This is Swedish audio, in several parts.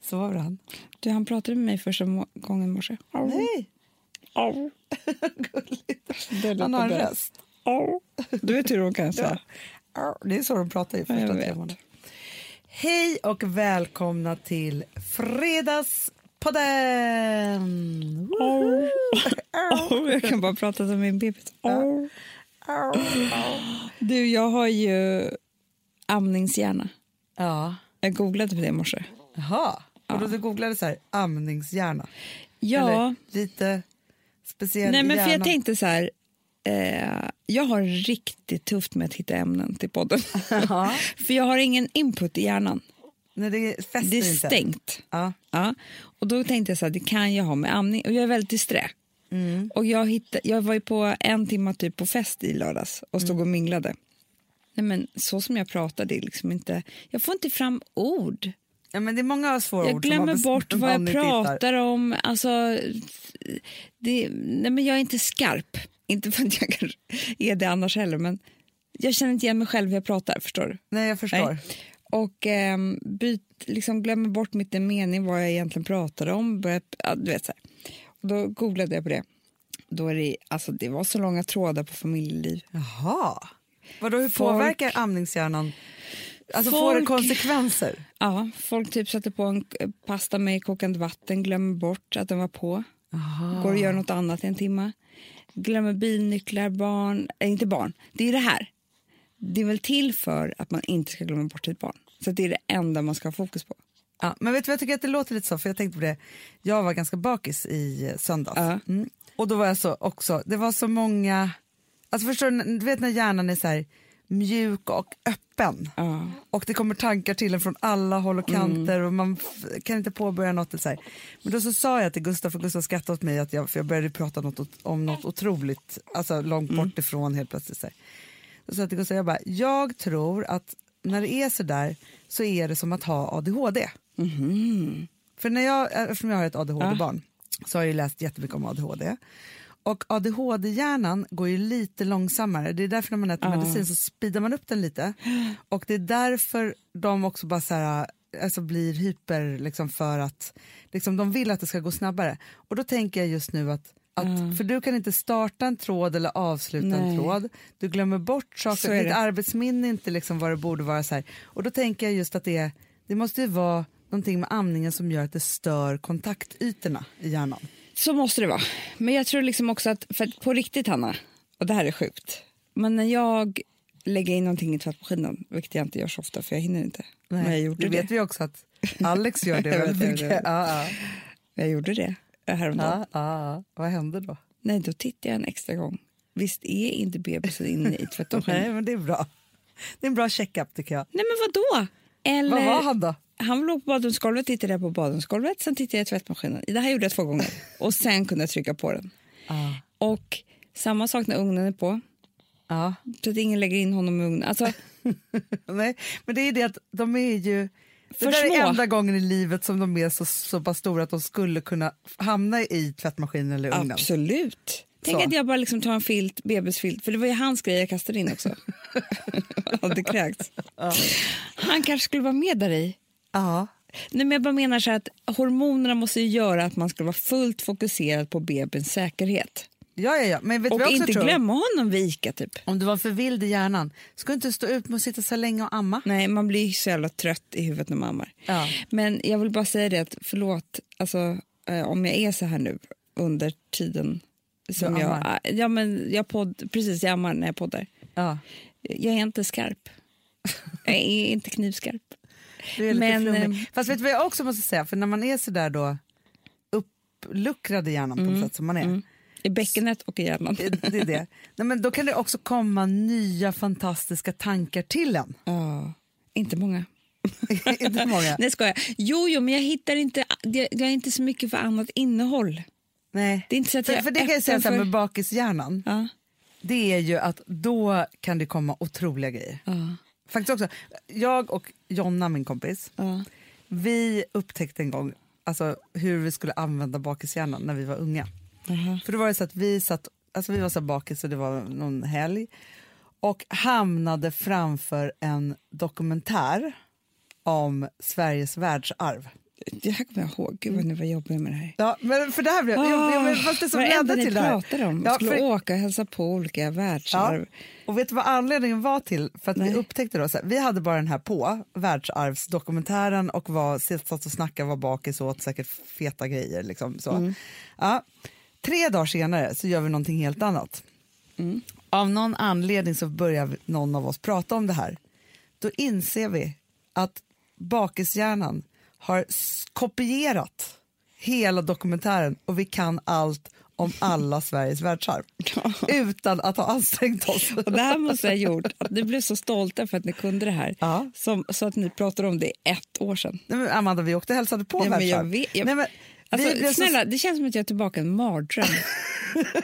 Svarade han? Du, han pratade med mig första må- gången i morse. Nej. Au. Gulligt. Det låter Han har en bäst. röst. Au. Du vet hur de kan säga. Arr, Det är så de pratar i första Jag vet. timmarna. Hej och välkomna till Fredagspodden! Woho! Arr, Au. Jag kan bara prata som min bebis. Au. arr, arr. Du, jag har ju amningshjärna. Ja, Jag googlade på det i morse. jaha. Och då du googlade så här, amningshjärna? Ja. Eller lite speciell Nej, men för jag hjärna. tänkte så här... Eh, jag har riktigt tufft med att hitta ämnen till podden. Ja. för jag har ingen input i hjärnan. Nej, det fäster Det är inte. stängt. Ja. Ja. Och då tänkte jag så här, det kan jag ha med amning. Och jag är väldigt disträ. Mm. Och jag, hittade, jag var ju på en timma typ på fest i lördags och Mm. stod och minglade. Nej, men så som jag pratar, det är liksom inte... Jag får inte fram ord. ja, men det är många svåra Jag ord som har glömmer bes- bort vad jag vanligt hittar. pratar om. Alltså, det, nej men jag är inte skarp. Inte för att jag kanske är det annars heller, men jag känner inte igen mig själv hur jag pratar. Förstår du? Nej, jag förstår. Nej. Och ehm, byt, liksom glömmer bort mitt i mening, vad jag egentligen pratade om. Börjar, ja, du vet, så här. Och då googlade jag på det. Då är det, alltså, det var så långa trådar på familjeliv. Jaha. Vadå, hur Folk- påverkar amningshjärnan? Alltså får det Folk- konsekvenser? Ja, folk typ satte på en eh, pasta med kokande vatten, glömmer bort att den var på. Går och gör något annat i en timme. Glömmer bilnycklar, barn, äh, inte barn, det är det här. Det är väl till för att man inte ska glömma bort sitt barn. Så att det är det enda man ska ha fokus på. Ja, men vet du vad jag tycker att det låter lite så? För jag tänkte på det, jag var ganska bakis i eh, söndags. Ja. Mm. Och då var jag så också, det var så många, alltså förstår du, n- du vet när hjärnan är så här mjuk och öppen. Ja. Mm. Och det kommer tankar till en från alla håll och kanter och man f- kan inte påbörja något. och Så här. Men då så sa jag till Gustav, för Gustav skrattade åt mig, att jag, för jag började prata något, ot- om något otroligt, alltså långt Mm. bort ifrån helt plötsligt. Så här. Då sa jag till Gustav, jag bara, jag tror att när det är så där så är det som att ha ADHD. För när jag, eh, eftersom jag har ett ADHD-barn så har jag ju läst jättemycket om ADHD. Och ADHD-hjärnan går ju lite långsammare. Det är därför när man äter medicin så speedar man upp den lite. Och det är därför de också bara så här, alltså blir hyper liksom för att liksom de vill att det ska gå snabbare. Och då tänker jag just nu att, att för du kan inte starta en tråd eller avsluta en Nej. tråd. Du glömmer bort Så saker. är Ditt det. arbetsminne är inte liksom vad det borde vara. Så här. Och då tänker jag just att det, är- det måste ju vara någonting med amningen som gör att det stör kontaktytorna i hjärnan. Så måste det vara. Men jag tror liksom också att, för att på riktigt Hanna, och det här är sjukt, men när jag lägger in någonting i tvättmaskinen, vilket jag inte gör så ofta för jag hinner inte. Men jag gjorde det det. vet vi också att Alex gör det Jag vet, väldigt jag vet, jag mycket. vet. Ja, ja. Jag gjorde det häromdagen. Ja, ja, ja. Vad händer då? Nej, då tittar jag en extra gång. Visst är inte bebisen inne i tvättmaskinen? Nej, men det är bra. Det är en bra checkup tycker jag. Nej, men vadå? Eller, Vad var han då? Han låg på badrumsgolvet, tittade jag på badrumsgolvet, sen tittade jag i tvättmaskinen. Det här gjorde jag två gånger och sen kunde jag trycka på den. Ja. Och samma sak när ugnen är på, Ja. så att ingen lägger in honom i ugnen. Alltså, Nej, men det är det att de är ju... Det För där är små. enda gången i livet som de är så, så pass stora att de skulle kunna hamna i tvättmaskinen eller ugnen. absolut. Tänk Så. att jag bara liksom tar en filt, bebisfilt, för det var ju hans grej jag kastade in också. Hade kräkts. Han kanske skulle vara med där i. Ja. Nej, men jag bara menar så här att hormonerna måste ju göra att man ska vara fullt fokuserad på bebisens säkerhet. Ja, ja, ja. Men vet du Och vad jag inte också tror? glömma honom vid Ica, typ. Om du var för vild i hjärnan, ska du inte stå ut med att sitta så länge och amma? Nej, man blir ju så jävla trött i huvudet när man ammar. Ja. Men jag vill bara säga det att förlåt, alltså, eh, om jag är så här nu under tiden som Du jag... ammar. eh, Ja, men jag podd, precis, jag ammar när jag poddar. Ja. Jag är inte skarp. jag är inte knivskarp. Du är lite Men, flummig. eh, Fast vet du vad jag också måste säga? För när man är så där då uppluckrad i hjärnan på Mm. något sätt som man är. I bäckenet och i hjärnan. Det, det är det. Nej, men då kan det också komma nya fantastiska tankar till en. Ja, inte många. inte många. Nej, skojar. Jo, jo, men jag hittar inte... Jag, jag är inte så mycket för annat innehåll. Nej. Det är inte så att för, jag för det kan jag säga öppen så här för- med bakishjärnan. Ja. Det är ju att då kan det komma otroliga grejer. Ja. Faktiskt också, jag och Jonna, min kompis, Ja. vi upptäckte en gång alltså, hur vi skulle använda bakishjärnan när vi var unga. För då var det så att vi satt, alltså vi var så här bakis och det var någon helg och hamnade framför en dokumentär om Sveriges världsarv. Det här kommer jag ihåg. Gud vad nu var jobbig med det här. Ja, men för det här blev... jag, jag, jag, fast det som ledde varenda Ah, ni till det här. pratade om. Ja, skulle för- åka och hälsa på olika Ja. världsarv. Och vet du vad anledningen var till? För att vi upptäckte då, så här, vi hade bara den här på, världsarvsdokumentären och var, satt och snackade, var bakis och åt säkert feta grejer. Liksom, så. Ja. Tre dagar senare så gör vi någonting helt annat. Av någon anledning så börjar vi- någon av oss prata om det här. Då inser vi att bakishjärnan har s- kopierat hela dokumentären och vi kan allt om alla Sveriges världsarv utan att ha ansträngt oss. Och det här måste jag ha gjort att ni blev så stolta för att ni kunde det här. Ja. Som, så att ni pratade om det ett år sedan. Nej, men Amanda, vi åkte och hälsade på Nej, men jag världsarv. vet- jag- Nej, men, Alltså, vi blev så- snälla, det känns som att jag är tillbaka i en mardröm.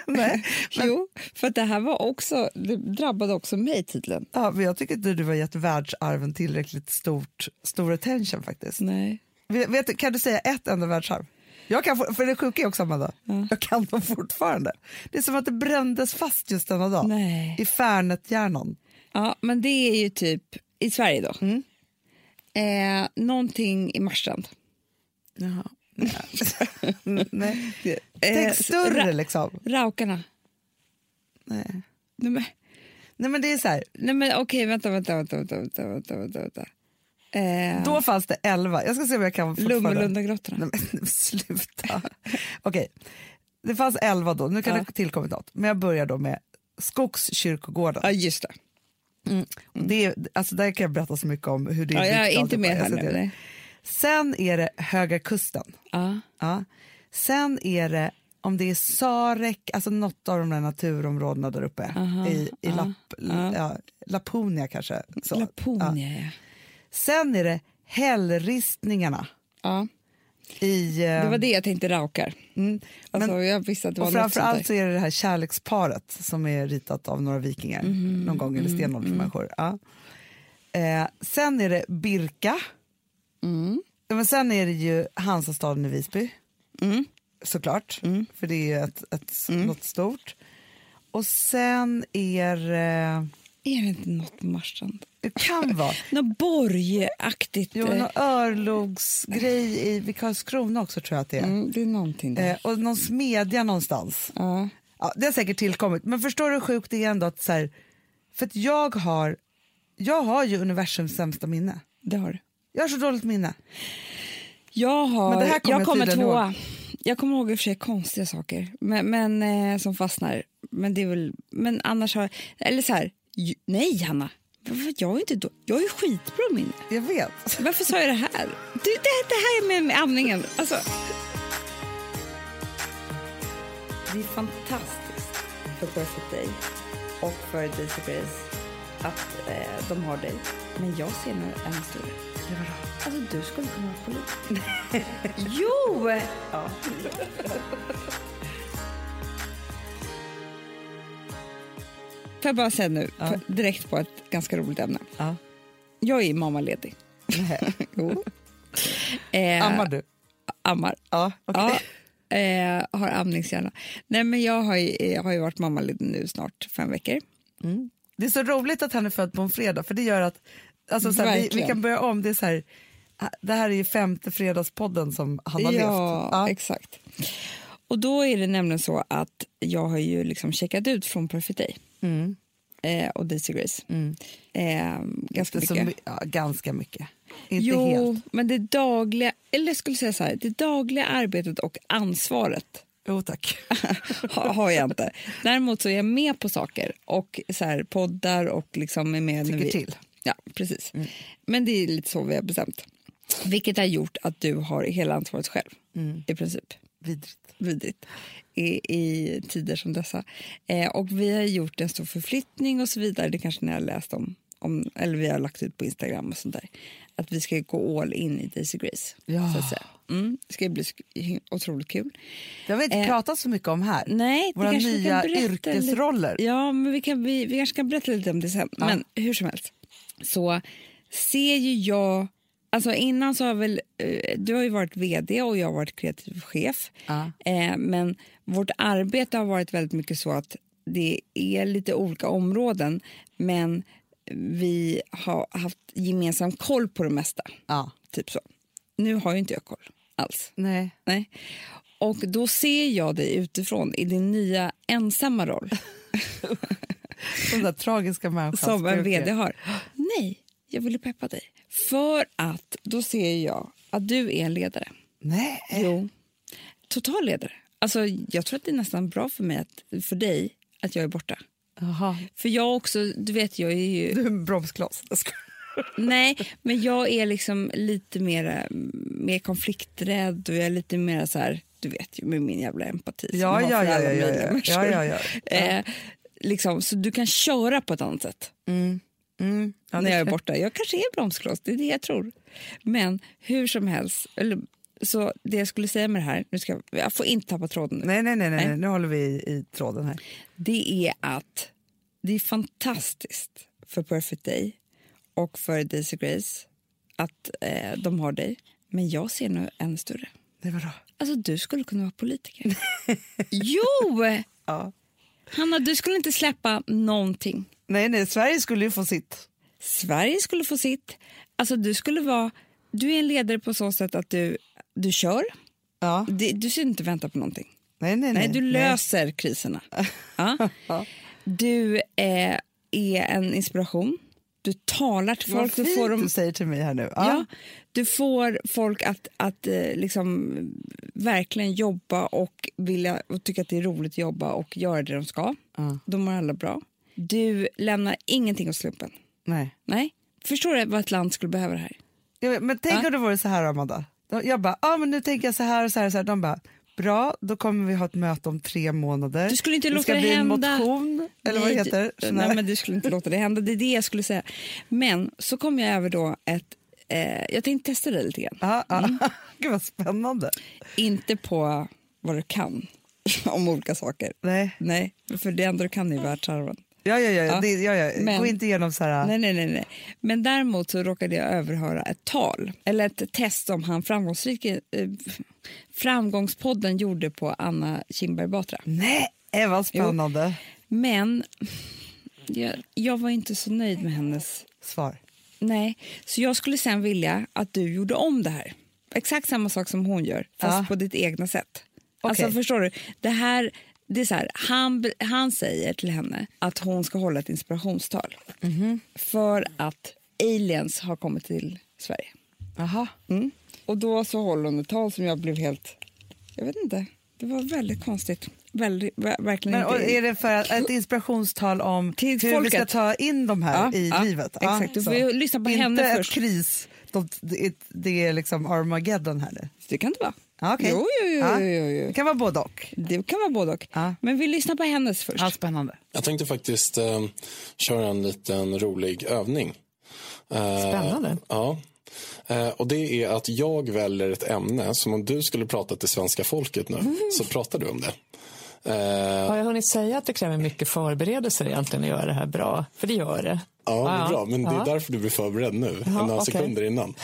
Nej. Jo, för att det här var också, det drabbade också mig tydligen. Ja, men jag tycker inte du har gett världsarven tillräckligt stort, stor attention faktiskt. Nej. Vet, vet du, kan du säga ett enda världsarv? Jag kan, for- för det sjuka är också, Amanda, jag kan dem fortfarande. Det är som att det brändes fast just denna dag Nej. i Färnethjärnan. Ja, men det är ju typ i Sverige då. Mm. Eh, någonting i Marstrand. Jaha. Mm. Nej. Eh, Tänk större, Ra- liksom. Raukarna. Nej. Nej, men, Nej, men det är så här, nej, men okej, vänta, vänta, vänta, vänta, vänta, vänta, vänta, vänta. Eh, då fanns det elva. Jag ska se om jag kan fortfarande. Lummelundagrottorna. Nej, men sluta. Okej, det fanns elva då, nu kan det ha tillkommit något. Men jag börjar då med Skogskyrkogården. Ja, just det. Det är, alltså där kan jag berätta så mycket om hur det Ja, jag är byggt inte alltihopa. med Jag här ska nu. till det. nej. Sen är det Höga Kusten. Ja. Ja. Sen är det, om det är Sarek, alltså något av de där naturområdena där uppe i, i Lapp, ja, Laponia kanske. Så. Ja. Laponia, ja. Sen är det Hällristningarna ja. i... eh, Det var det jag tänkte raukar. mm, men- Alltså, jag visste att det var Och något sånt där. framförallt så är det det här kärleksparet som är ritat av några vikingar Mm-hmm. någon gång, eller stenåldersmänniskor. Ja. Eh, sen är det Birka. Ja, men sen är det ju Hansastaden i Visby, Mm. såklart, för det är ju ett, ett, något stort. Och sen är det... Är det inte något på Marstrand? Det kan vara... Något borgaktigt. Jo, eh, någon örlogsgrej i vid Karlskrona också tror jag att det är. mm, det är någonting där. Eh, och någon smedja någonstans. Ja. Ja, det har säkert tillkommit. Men förstår du hur sjukt det är ändå att så här, för att jag har, jag har ju universums sämsta minne. Det har du. Jag har så dåligt minne. Jag har, Men det här kommer jag kommer tydligen tvåa. Jag kommer ihåg i och för sig konstiga saker men, men, eh, som fastnar. Men det är väl, men annars har eller så här, ju, nej Hanna, varför- jag är inte då, jag har ju skitbra minne. Jag vet. Varför sa jag det här? Du, det, det här är med, med amningen. Alltså. Det är fantastiskt för Perfect Day och för Daisy Grace att eh, de har dig. Men jag ser nu en större. Alltså du skulle kunna vara polis. jo! Får jag bara säga nu, på- direkt på ett ganska roligt ämne. Ja. Jag är mammaledig. jo. Eh, Ammar du? Ammar. Ja, okej. Ja, eh, har amningshjärna. Nej, men jag har ju, jag har ju varit mammaledig nu snart fem veckor. Mm. Det är så roligt att han är född på en fredag för det gör att alltså, så här, vi, vi Verkligen. kan börja om. Det, är så här, det här är ju femte fredagspodden som han har ja, levt. exakt. Och då är det nämligen så att jag har ju liksom checkat ut från Perfect Day Mm. eh, och Daisy Grace. Eh, ganska Inte så mycket. my- ja, ganska mycket. Inte jo, helt. men det dagliga, eller jag skulle säga så här, det dagliga arbetet och ansvaret Jo tack. ha, har jag inte. Däremot så är jag med på saker och så här, poddar och liksom är med. när Tycker till. Mm. Ja, precis. Men det är lite så vi har bestämt. Vilket har gjort att du har hela ansvaret själv i princip. Mm. Vidrigt. Vidrigt i, i tider som dessa. Eh, och vi har gjort en stor förflyttning och så vidare. Det kanske ni har läst om, om eller vi har lagt ut på Instagram och sånt där. Att vi ska gå all in i Daisy Grace. Ja. Så att säga. Mm, det ska bli sk- otroligt kul. Det har vi inte Eh, pratat så mycket om här. Nej, det Våra kanske vi kan nya berätta yrkesroller. Lite. Ja, men vi, kan, vi, vi kanske kan berätta lite om det sen. Men hur som helst så ser ju jag... Alltså innan så har väl... eh, Du har ju varit vd och jag har varit kreativ chef. Ja. Eh, men vårt arbete har varit väldigt mycket så att det är lite olika områden men vi har haft gemensam koll på det mesta. Ja. Typ så. Nu har ju inte jag koll alls. Nej. Nej. Och då ser jag dig utifrån i din nya ensamma roll Den där tragiska människan. som en vd har. Nej, jag ville peppa dig. För att då ser jag att du är en ledare. Nej. Jo. Total ledare. Alltså, jag tror att det är nästan bra för mig, att, för dig, att jag är borta. Jaha. För jag också, du vet, jag är ju... Du är en bromskloss. Jag skojar. Nej, men jag är liksom lite mer, mer konflikträdd och jag är lite mer så här, du vet ju med min jävla empati som Ja, jag ja, har för ja, alla ja, ja, möjliga ja. människor. Ja, ja, ja. Eh, liksom, så du kan köra på ett annat sätt Mm. Ja, det när jag är kan- borta. Jag kanske är bromskloss, det är det jag tror. Men hur som helst, eller, så det jag skulle säga med det här, nu ska, jag- jag får inte tappa tråden nu, Nej, nej, nej, nej, nej, nu håller vi i, i tråden här. det är att det är fantastiskt för Perfect Day och för Daisy Grace att eh, de har dig. Men jag ser nog ännu större. Nej, vadå? Alltså du skulle kunna vara politiker. jo! Ja. Hanna, du skulle inte släppa någonting. Nej, nej, Sverige skulle ju få sitt. Sverige skulle få sitt. Alltså du skulle vara... Du är en ledare på så sätt att du, du kör. Ja. Det, du ser inte vänta på någonting. Nej, nej, nej. Nej, du löser kriserna. Ja. Ja. Du eh, är en inspiration. Du talar till Vad folk. fint Du får, dem, du säger till mig här nu. Ja. ja, du får folk att, att eh, liksom, verkligen jobba och, vilja, och tycka att det är roligt att jobba och göra det de ska. Ja. De mår alla bra. Du lämnar ingenting åt slumpen. Nej. Nej. Förstår du vad ett land skulle behöva det här? Jag vet, men tänk Ja. om det vore så här, Amanda. De- Jag bara, ah, men nu tänker jag så här och så här. Och så här. De bara, bra, då kommer vi ha ett möte om tre månader. Du skulle inte det låta ska det bli hända. en motion, eller vad det Nej, heter. du- Sån här- Nej, men du skulle inte låta det hända. Det är det jag skulle säga. Men så kom jag över då ett... Eh, jag tänkte testa dig lite grann. Ja, ja. Ah, Gud vad spännande. Inte på vad du kan om olika saker. Nej. Nej, för det enda du kan är världsarven. Ja, ja, ja. Ja. Det, ja, ja. Ah. Men- Gå inte igenom så här. Nej, nej, nej, nej. Men däremot så råkade jag överhöra ett tal, eller ett test som han framgångsrike, eh, Framgångspodden gjorde på Anna Kinberg Batra. Nej, eh, vad spännande. Men jag, jag var inte så nöjd med hennes Svar. Nej, så jag skulle sen vilja att du gjorde om det här. Exakt samma sak som hon gör, fast Ja. på ditt egna sätt. Alltså Okej. förstår du, det här, det är så här han, han säger till henne att hon ska hålla ett inspirationstal. Mhm. För att aliens har kommit till Sverige. Jaha. Mm. Och då så håller hon ett tal som jag blev helt, jag vet inte, det var väldigt konstigt. Väldigt, ver- verkligen Men, och inte. är det för att, ett inspirationstal om Till hur vi ska folket. ta in de här Ja, i ja, livet? Ah, exakt. Du så. får ju lyssna på inte henne ett först. kris. De, det, är- det är liksom Armageddon här nu. Det kan det vara. Ja, okej. Jo, jo, jo, Ja. jo, jo, jo. Det kan vara både och. Det kan vara både och. Ja. Men vi lyssnar på hennes först. Ja, spännande. Jag tänkte faktiskt eh, köra en liten rolig övning. Eh, Spännande. Ja. Eh, och det är att jag väljer ett ämne som om du skulle prata till svenska folket nu så pratar du om det. Eh, Har jag hunnit säga att det kräver mycket förberedelser egentligen att göra det här bra? För det gör det. Ja, men Ja, bra. Men det är ja. därför du blir förberedd nu, Ja, några okej. sekunder innan.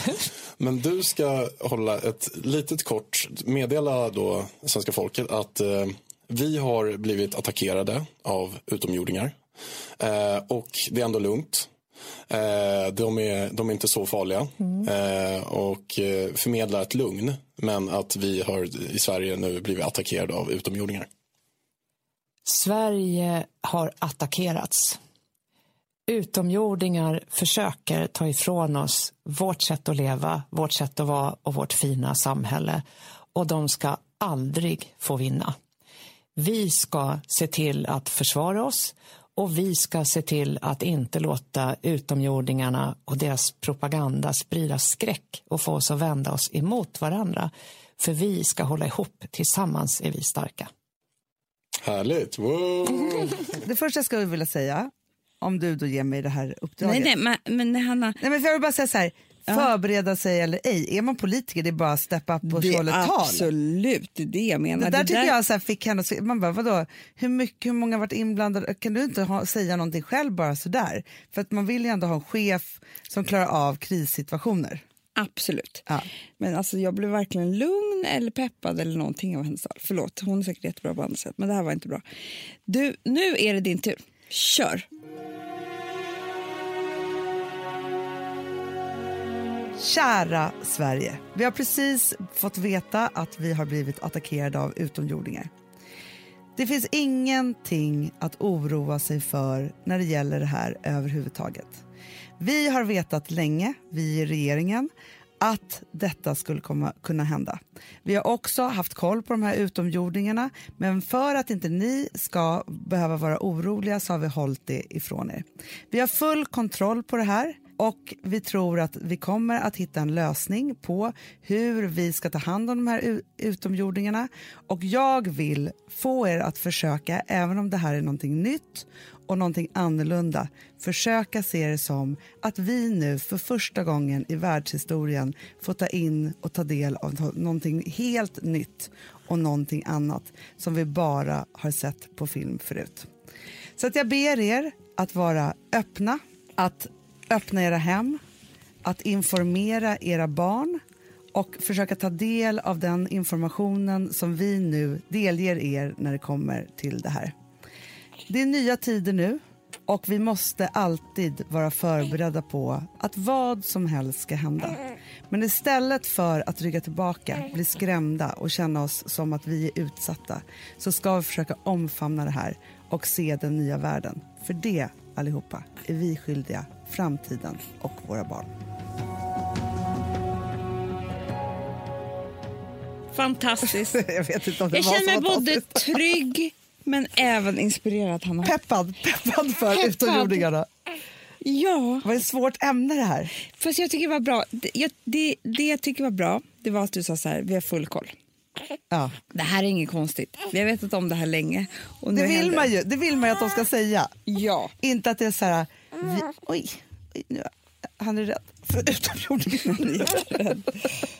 Men du ska hålla ett litet kort, meddela då svenska folket att eh, vi har blivit attackerade av utomjordingar. Eh, och det är ändå lugnt. Eh, de, är, de är inte så farliga Mm. eh, och eh, förmedlar ett lugn. Men att vi har i Sverige nu blivit attackerade av utomjordingar. Sverige har attackerats. Utomjordingar försöker ta ifrån oss vårt sätt att leva, vårt sätt att vara och vårt fina samhälle. Och de ska aldrig få vinna. Vi ska se till att försvara oss och vi ska se till att inte låta utomjordingarna och deras propaganda sprida skräck och få oss att vända oss emot varandra. För vi ska hålla ihop. Tillsammans är vi starka. Härligt! Wow. Det första jag skulle vilja säga, om du då ger mig det här uppdraget. Nej, nej, men, men Hanna, Nej, men för jag vill bara säga så här, förbereda sig eller ej. Är man politiker, det är bara att steppa upp och det hålla ett är tal. absolut det är det jag menar. liksom. Det där tycker jag så här fick henne att se- man bara, vadå, hur, mycket, hur många har varit inblandade, kan du inte ha, säga någonting själv bara sådär? För att man vill ju ändå ha en chef som klarar av krissituationer. Absolut. Ja. Men alltså, jag blev varken lugn eller peppad eller någonting av hennes tal. Förlåt, hon är säkert jättebra på andra sätt, men det här var inte bra. Du, nu är det din tur. Kör! Kära Sverige, vi har precis fått veta att vi har blivit attackerade av utomjordingar. Det finns ingenting att oroa sig för när det gäller det här överhuvudtaget. Vi har vetat länge, vi i regeringen, att detta skulle komma, kunna hända. Vi har också haft koll på de här utomjordingarna men för att inte ni ska behöva vara oroliga så har vi hållit det ifrån er. Vi har full kontroll på det här och vi tror att vi kommer att hitta en lösning på hur vi ska ta hand om de här u- utomjordingarna och jag vill få er att försöka, även om det här är någonting nytt och någonting annorlunda försöka se det som att vi nu för första gången i världshistorien får ta in och ta del av to- någonting helt nytt och någonting annat som vi bara har sett på film förut. Så att jag ber er att vara öppna, att öppna era hem, att informera era barn och försöka ta del av den informationen som vi nu delger er när det kommer till det här. Det är nya tider nu och vi måste alltid vara förberedda på att vad som helst ska hända. Men istället för att rygga tillbaka, bli skrämda och känna oss som att vi är utsatta så ska vi försöka omfamna det här och se den nya världen. För det, allihopa, är vi skyldiga framtiden och våra barn. Fantastiskt. Jag vet inte om det Jag var känner mig så både fantastiskt. trygg men även inspirerad, Hanna. Peppad, peppad för Peppad. utomjordingarna. Ja, Vad ett svårt ämne det här. fast jag tycker det var bra. Det jag, det, det jag tycker var bra det var att du sa så här, vi har full koll. Ja. Det här är inget konstigt. Vi har vetat om det här länge. Och nu Det vill händer man ju, det vill man ju att de ska säga. Ja. Inte att det är så här... Vi, oj, oj nu, han är rädd för utomjordingar.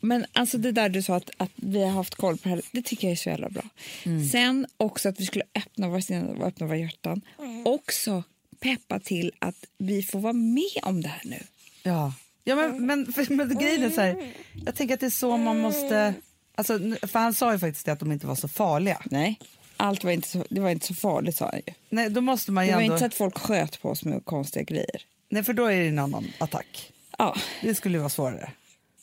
Men alltså det där du sa att, att vi har haft koll på det här, det tycker jag är så jävla bra. Mm. Sen också att vi skulle öppna våra sinnen och öppna våra hjärtan. Också peppa till att vi får vara med om det här nu. Ja, ja men, men, för- men grejen är så här, jag tänker att det är så man måste... Alltså, nu- för han sa ju faktiskt det att de inte var så farliga. Nej, allt var inte så, det var inte så farligt sa han ju. Nej, då måste man ju Det var ändå... inte så att folk sköt på oss med konstiga grejer. Nej, för då är det en annan attack. Ja, Det skulle ju vara svårare.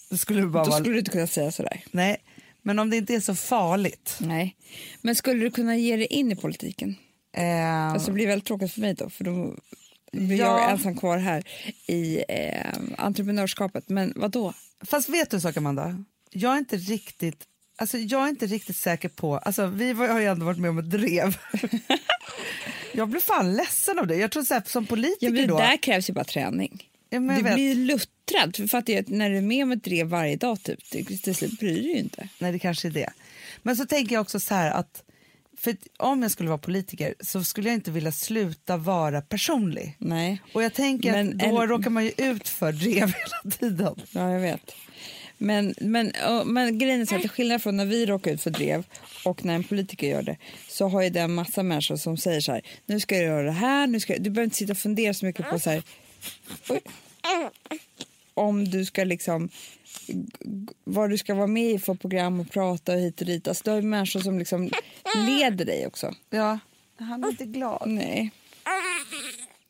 Det skulle ju bara då vara... skulle du inte kunna säga sådär. Nej, men om det inte är så farligt. Nej. Men skulle du kunna ge dig in i politiken? Eh, Alltså, det blir väldigt tråkigt för mig då, för då blir Ja. jag ensam kvar här i eh, entreprenörskapet. Men vad då? Fast vet du en sak, Amanda? Jag är inte riktigt, alltså, jag är inte riktigt säker på... Alltså, vi var- har ju ändå varit med om ett drev. jag blev fan ledsen av det. Jag tror så här, som Ja, politiker men det då... där krävs ju bara träning. Ja, men jag du vet. blir ju luttrad. För fattar ju att när du är med om ett drev varje dag, typ, till till slut bryr du dig ju inte. Nej, det kanske är det. Men så tänker jag också så här att... För att om jag skulle vara politiker så skulle jag inte vilja sluta vara personlig. Nej. Och jag tänker att Men då en- råkar man ju ut för drev hela tiden. Ja, jag vet. Men, men, och, men grejen är så att till skillnad från när vi råkar ut för drev och när en politiker gör det så har ju det en massa människor som säger så här, nu ska jag göra det här, nu ska jag... du behöver inte sitta och fundera så mycket på så här, oj, om du ska liksom g- g- vad du ska vara med i för program och prata och hit och dit. Alltså, du har ju människor som liksom leder dig också. Ja. Han är inte glad. Nej.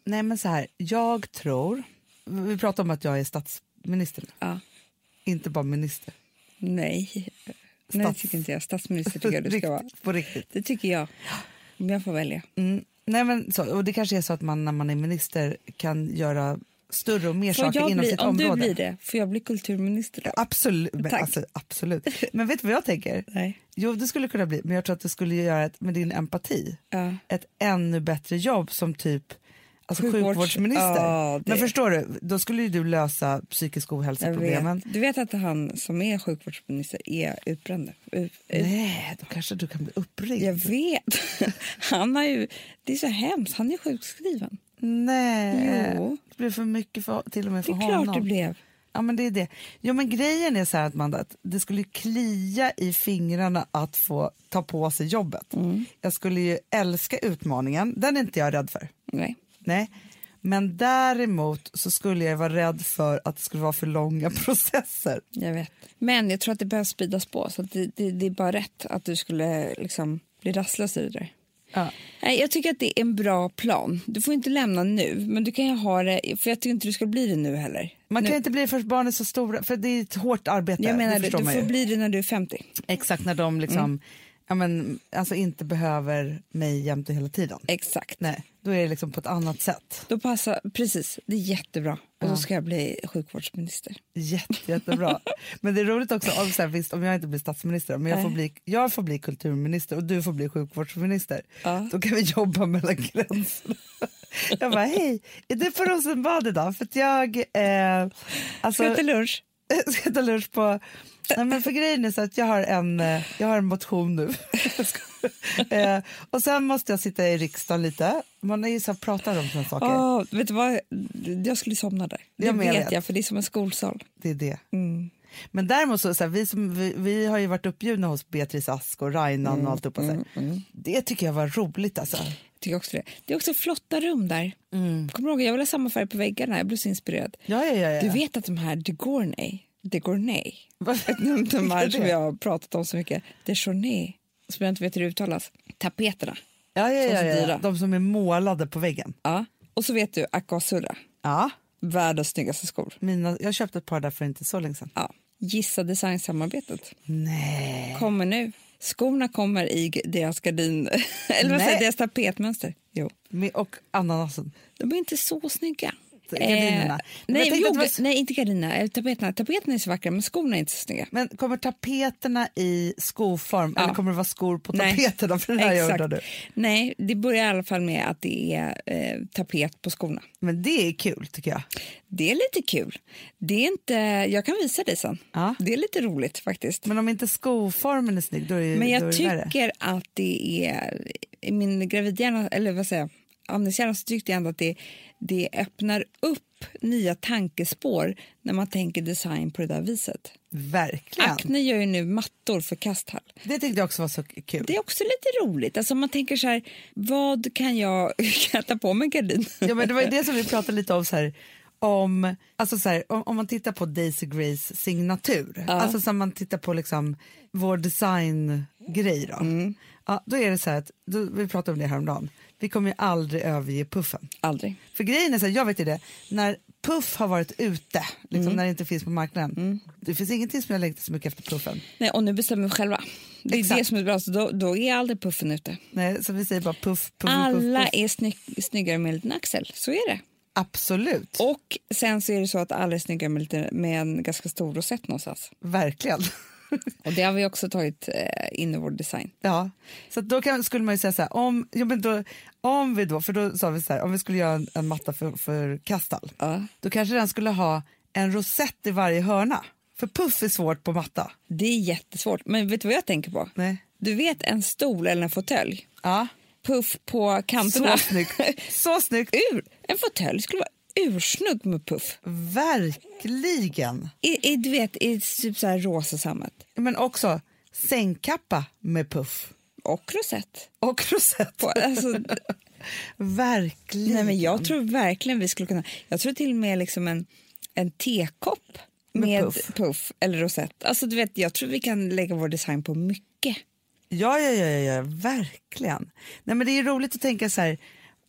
Nej, men så här, jag tror... Vi pratar om att jag är statsminister nu. Ja. Inte bara minister. Nej. Nej, det tycker inte jag. Statsminister tycker jag du ska vara. Riktigt, på riktigt. Det tycker jag. Om jag får välja. Mm. Nej, men så, och det kanske är så att man när man är minister kan göra större och mer Får saker jag inom bli, sitt om område. du blir det, får jag bli kulturminister då? Absolut. Men, Tack. alltså, absolut. men vet du vad jag tänker? Nej. Jo, det skulle kunna bli, men jag tror att du skulle göra ett, med din empati Ja. ett ännu bättre jobb som typ alltså Sjukvårds- sjukvårdsminister. Ja, det- Men förstår du, då skulle ju du lösa psykisk Jag ohälsa-problemen. vet. Du vet att han som är sjukvårdsminister är utbränd? Ut, ut. Nej, då kanske du kan bli uppringd. Jag vet. Han har ju, det är så hemskt. Han är sjukskriven. Nej, Jo. det blir för mycket för, till och med för Det är honom. klart det blev. Ja, men det är det. Jo, men grejen är så här att, man, att det skulle ju klia i fingrarna att få ta på sig jobbet. Mm. Jag skulle ju älska utmaningen, den är inte jag rädd för. Nej. Nej. Men däremot så skulle jag vara rädd för att det skulle vara för långa processer. Jag vet. Men jag tror att det behöver speedas på. Så att det, det, det är bara rätt att du skulle liksom bli rastlös i det där. Ja. Nej, jag tycker att det är en bra plan. Du får inte lämna nu, men du kan ju ha det, för jag tycker inte du ska bli det nu heller. Man nu, kan inte bli det förrän barnen är så stora, för det är ett hårt arbete. jag menar, det det, förstår du man får ju. bli det när du är 50. Exakt när de liksom, ja, men, alltså inte behöver mig jämt och hela tiden. Exakt. Nej, då är det liksom på ett annat sätt. Då passar, precis, det är jättebra. Och då ska jag bli sjukvårdsminister. Jätte, jättebra. Men det är roligt också, om, så här, visst, om jag inte blir statsminister, men jag får Nej. bli, jag får bli kulturminister och du får bli sjukvårdsminister. Ja. Då kan vi jobba mellan gränserna. Jag bara, hej, är du på Rosenbad idag? För att jag... Eh, alltså, Ska jag till lunch? Jag ska ta lunch på... Nej, men för grejen är så att jag har en, eh, jag har en motion nu. eh, och sen måste jag sitta i riksdagen lite. Man är ju så här, pratar om såna saker. Åh, vet du vad? Jag skulle somna där. Det Ja, men jag vet vet. jag, för det är som en skolsal. Mm. Det är det. Men däremot så, så här, vi, som, vi, vi har ju varit uppbjudna hos Beatrice Ask och Rainan Mm, och alltihopa. så här. Det tycker jag var roligt alltså. Jag tycker också det. det är också flotta rum där. Kommer du ihåg, jag vill ha samma färg på väggarna. Jag blev så inspirerad. Ja, ja, ja. ja. Du vet att de här de Gournay, de Gournay, Vad- de Vilka är här det? som jag har pratat om så mycket, de Journay, som jag inte vet hur det uttalas, tapeterna. ja, ja, som ja, så ja, ja. dyra. De som är målade på väggen. Ja. Och så vet du Akasura, Ja, världens snyggaste skor. mina, jag köpte ett par där för inte så länge sedan. Ja. Gissa designsamarbetet. Nej. Kommer nu. Skorna kommer i g- deras gardin, eller vad Nej. säger jag, deras tapetmönster. Jo. Med, och ananasen. De är inte så snygga. Eh, Gardinerna. Men jag nej, tänkte jo, att det var- nej, inte gardinerna. eh, Tapeterna. Tapeterna är så vackra, men skorna är inte så snygga. Men kommer tapeterna i skoform Ja. eller kommer det vara skor på Nej. tapeterna? För det här jag undrar nu. Nej, det börjar i alla fall med att det är eh, tapet på skorna. Men det är kul tycker jag. Det är lite kul. Det är inte, jag kan visa dig sen. Ja. Det är lite roligt faktiskt. Men om inte skoformen är snygg då är det Men då jag är det värre. tycker att det är, i min gravidhjärna, eller vad säger jag, amningshjärna så tyckte jag ändå att det, det öppnar upp nya tankespår när man tänker design på det där viset. Verkligen. Acne gör ju nu mattor för kasthall. Det tyckte jag också var så kul. Det är också lite roligt. Alltså man tänker så här, vad kan jag kan jag ta på mig en gardin? Ja, men det var ju det som vi pratade lite om. Så här, om, alltså så här, om, om man tittar på Daisy Grays signatur, alltså som man tittar på liksom vår designgrej då. Ja, då är det så här att, då, vi pratade om det häromdagen, vi kommer ju aldrig överge puffen. Aldrig. För grejen är så här, jag vet ju det, när Puff har varit ute, liksom när det inte finns på marknaden, det finns ingenting som jag längtar så mycket efter Puffen. Nej, och nu bestämmer vi själva. Det är Exakt. det som är bra, så då, då är aldrig puffen ute. Nej, så vi säger bara Puff, Puff, Puff, Alla puff. är sny snyggare med en liten axel, så är det. Absolut, Och sen så är det så att alla är snyggare med, lite, med en ganska stor rosett någonstans. verkligen. Och det har vi också tagit eh, in i vår design. ja. Så att då kan, skulle man ju säga så här, om, ja, men då, om vi då, för då sa vi så här, om vi skulle göra en, en matta för, för Kastall, Ja. då kanske den skulle ha en rosett i varje hörna. För puff är svårt på matta. Det är jättesvårt, men vet du vad jag tänker på? Nej. Du vet en stol eller en fåtölj? Ja. Puff på kanterna. Så snyggt. Så snyggt. Ur, en fåtölj skulle vara ursnygg med puff. Verkligen. I, i, du vet, i typ så här rosa sammet. Men också sängkappa med puff Och rosett. och rosett. På, alltså, Verkligen. Nej, men jag tror verkligen vi skulle kunna. Jag tror till och med liksom en, en tekopp med, puff. puff. eller rosett. Alltså, du vet, jag tror vi kan lägga vår design på mycket. Ja, ja, ja, ja, ja, verkligen. Nej, men det är ju roligt att tänka så här,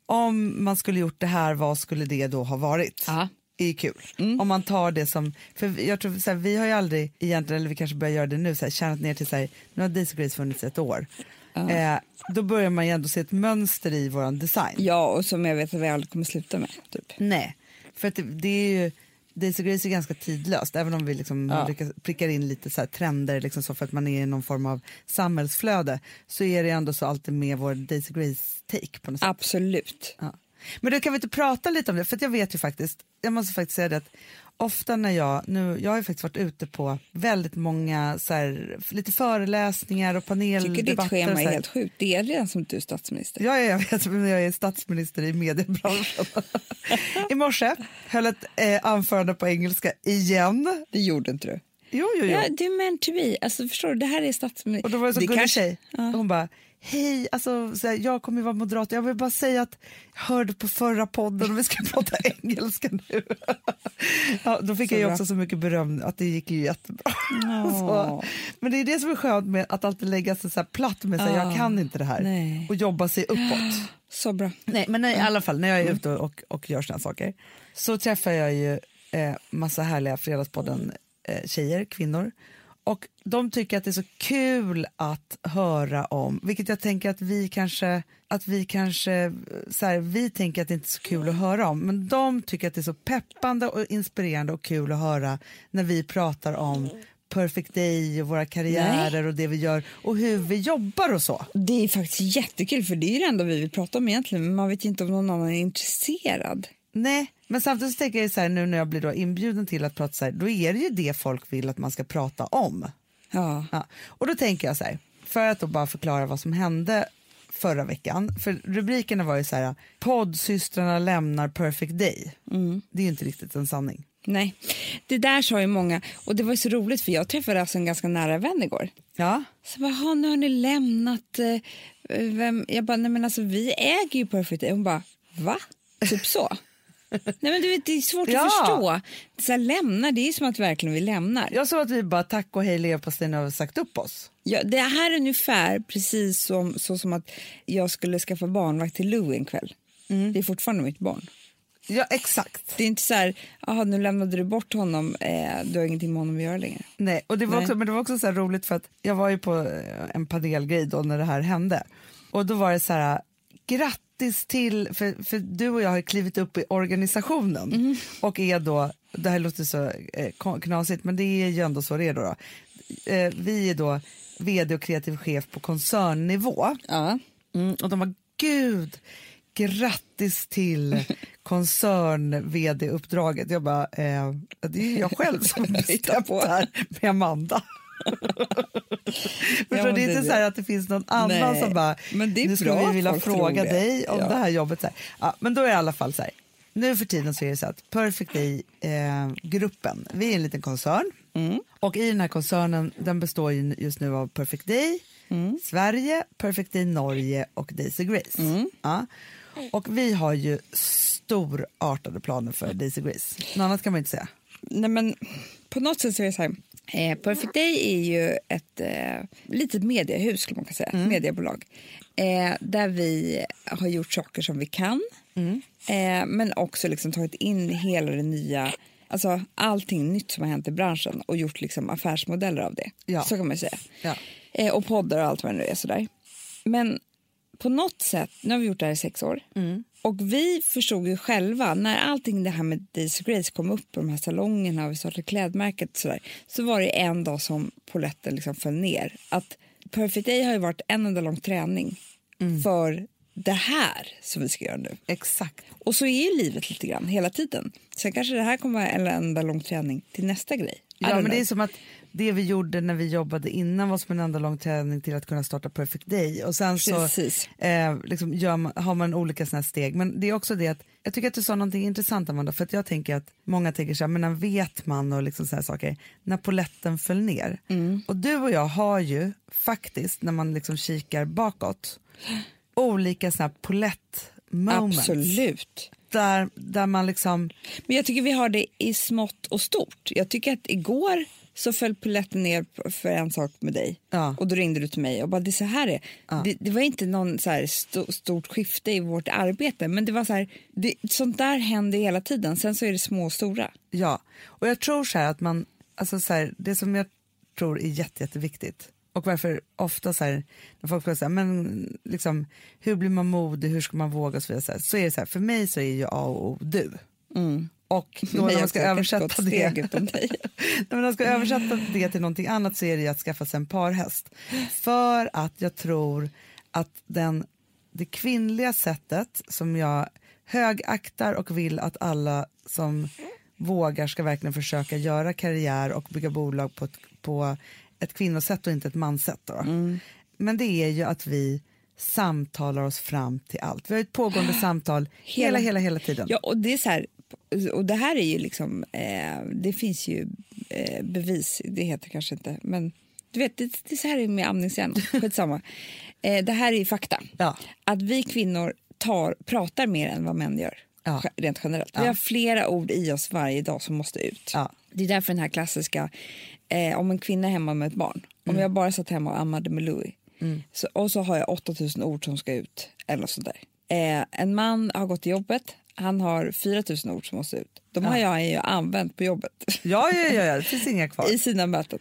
om man skulle gjort det här, vad skulle det då ha varit? Ja. Det är kul. Om man tar det som, för jag tror så här, vi har ju aldrig egentligen, eller vi kanske börjar göra det nu, så här, tjänat ner till så här, nu har Daisy Grace funnits ett år. Eh, då börjar man ju ändå se ett mönster i våran design. Ja, och som jag vet att vi aldrig kommer sluta med. Typ. Nej, för att det, det är ju Daisy Grace är ganska tidlöst, även om vi liksom lyckas, prickar in lite så här trender liksom så för att man är i någon form av samhällsflöde så är det ändå så alltid med vår Daisy Grace-take på något sätt. Absolut. Ja. Men då kan vi inte prata lite om det, för att jag vet ju faktiskt, jag måste faktiskt säga det att ofta när jag, nu, jag har ju faktiskt varit ute på väldigt många så här, lite föreläsningar och Jag tycker paneldebatter. ditt och schema så är här. helt sjukt. Det är redan som du är statsminister. Ja, ja, jag vet, men jag är statsminister i mediebranschen. I morse höll ett eh, anförande på engelska igen. Det gjorde inte du. Jo, jo, jo. Ja, det är meant to be. Alltså, förstår du, det här är statsminister. Och då var det så det gullig kanske- tjej. Ja. Hon bara, hej, alltså, så här, jag kommer ju vara moderat. Jag vill bara säga att jag hörde på förra podden och vi ska prata engelska nu. ja, då fick Så jag ju bra. också så mycket beröm att det gick ju jättebra. så, Ja. men det är det som är skönt med att alltid lägga sig så här platt med sig, Ja. jag kan inte det här. Nej. Och jobba sig uppåt. Så bra. Nej, men i alla fall när jag är ute och, och, och gör såna saker så träffar jag ju eh, massa härliga Fredagspodden eh, tjejer, kvinnor. Och de tycker att det är så kul att höra om, vilket jag tänker att vi kanske, att vi kanske, eh, så här, vi tänker att det inte är så kul att höra om, men de tycker att det är så peppande och inspirerande och kul att höra när vi pratar om Perfect Day och våra karriärer och det vi gör och hur vi jobbar och så. Det är faktiskt jättekul, för det är ju det enda vi vill prata om egentligen. Men man vet ju inte om någon annan är intresserad. Nej, men samtidigt så tänker jag så här, nu när jag blir då inbjuden till att prata så här, då är det ju det folk vill att man ska prata om. Ja. Ja. Och då tänker jag så här, för att då bara förklara vad som hände förra veckan, för rubrikerna var ju så här, poddsystrarna lämnar perfect day. Det är ju inte riktigt en sanning. Nej, det där sa ju många. Och det var ju så roligt, för jag träffade alltså en ganska nära vän igår. Ja, Så bara, "Ha, nu har ni lämnat... eh, Vem? Jag bara, nej men alltså vi äger ju Perfect Day. Hon bara, va? Typ så. nej men du vet, det är svårt Ja. att förstå. Så här, lämna, det är ju som att verkligen vi lämnar. jag såg att vi bara tack och hej leverpastejen har sagt upp oss. Ja, det här är ungefär precis som, så som att jag skulle skaffa barnvakt till Lou en kväll. Det är fortfarande mitt barn. Ja, exakt. Det är inte så här, "Jaha, nu lämnade du bort honom, eh, du har ingenting med honom att göra längre. Nej, och det var Nej. också, men det var också så här roligt för att jag var ju på eh, en panelgrej då när det här hände och då var det så här grattis till, för, för du och jag har ju klivit upp i organisationen Mm. och är då, det här låter så eh, kon- knasigt men det är ju ändå så det är då. då. Eh, vi är då vd och kreativ chef på koncernnivå. Ja. Mm, och de var gud, grattis till koncern-vd-uppdraget. Jag bara, eh, det är ju jag själv som hittar på det här med Amanda. Förstår, men du? det är det är inte så det. här att det finns någon annan Nej, som bara, men det är nu skulle bra vi att vilja folk fråga tror det. dig om Ja. det här jobbet. Så här. Ja, men då är det i alla fall så här, nu för tiden så är det så att Perfect Day-gruppen, vi är en liten koncern Mm. och i den här koncernen, den består ju just nu av Perfect Day, Mm. Sverige, Perfect Day Norge och Daisy Grace. Mm. Ja. Och vi har ju storartade planer för Daisy Grace, något annat kan man ju inte säga. Nej, men på något sätt så är det så här. Eh, Perfect Day är ju ett eh, litet mediehus, skulle man kunna säga. ett Mediebolag. Eh, där vi har gjort saker som vi kan. Eh, men också liksom tagit in hela det nya, alltså allting nytt som har hänt i branschen och gjort liksom affärsmodeller av det. Ja. Så kan man ju säga. Ja. Eh, och poddar och allt vad det nu är sådär. Men på något sätt, nu har vi gjort det här i sex år. Mm. Och vi förstod ju själva, när allting det här med Daisy Grace kom upp och de här salongerna och vi startade klädmärket och sådär. Så var det en dag som poletten liksom föll ner. Att Perfect Day har ju varit en enda lång träning Mm. för det här som vi ska göra nu. Exakt. Och så är ju livet lite grann hela tiden. Sen kanske det här kommer vara en enda lång träning till nästa grej. I Ja, don't men know. det är som att det vi gjorde när vi jobbade innan var som en enda lång träning till att kunna starta Perfect Day och sen så Precis. eh, liksom gör man, har man olika såna här steg. Men det är också det att jag tycker att du sa någonting intressant Amanda för att jag tänker att många tänker så här, men när vet man och liksom så här saker, när poletten föll ner. Mm. Och du och jag har ju faktiskt när man liksom kikar bakåt olika såna här polett moments Absolut. där, där man liksom Men jag tycker vi har det i smått och stort. Jag tycker att igår så föll polletten ner p- för en sak med dig. Ja. Och då ringde du till mig och bara, det är så här det är. Det, det var inte någon så här sto- stort skifte i vårt arbete, men det var så här, det, sånt där händer hela tiden. Sen så är det små och stora. Ja, och jag tror så här att man, alltså så här, det som jag tror är jätte, jätteviktigt och varför ofta så här, när folk frågar så här, men liksom, hur blir man modig, hur ska man våga och så vidare, så, här, så är det så här, för mig så är ju A och O du. Mm. Och då när Mig man också, ska jag kan inte gå översätta ett det, steg utan dig. Nej, men när man ska översätta det till någonting annat så är det ju att skaffa sig en parhäst. För att jag tror att den, det kvinnliga sättet som jag högaktar och vill att alla som vågar ska verkligen försöka göra karriär och bygga bolag på ett, på ett kvinnosätt och inte ett manssätt. Då. Men det är ju att vi samtalar oss fram till allt. Vi har ju ett pågående samtal hela, hela, hela tiden. Ja, och det är så här, och det här är ju liksom, eh, det finns ju eh, bevis, det heter kanske inte, men du vet, det, det är så här är med amningshjärnan, skitsamma. Eh, det här är ju fakta, Ja. att vi kvinnor tar, pratar mer än vad män gör. Ja. ge- Rent generellt. Vi har flera ord i oss varje dag som måste ut. Ja. Det är därför den här klassiska, eh, om en kvinna är hemma med ett barn, Mm. om jag bara satt hemma och ammade med Louis så, och så har jag 8000 ord som ska ut eller sånt där. Eh, en man har gått till jobbet, han har 4000 ord som måste ut. De har jag ju använt på jobbet Ja, ja, ja, ja, det finns inga kvar. i sina möten.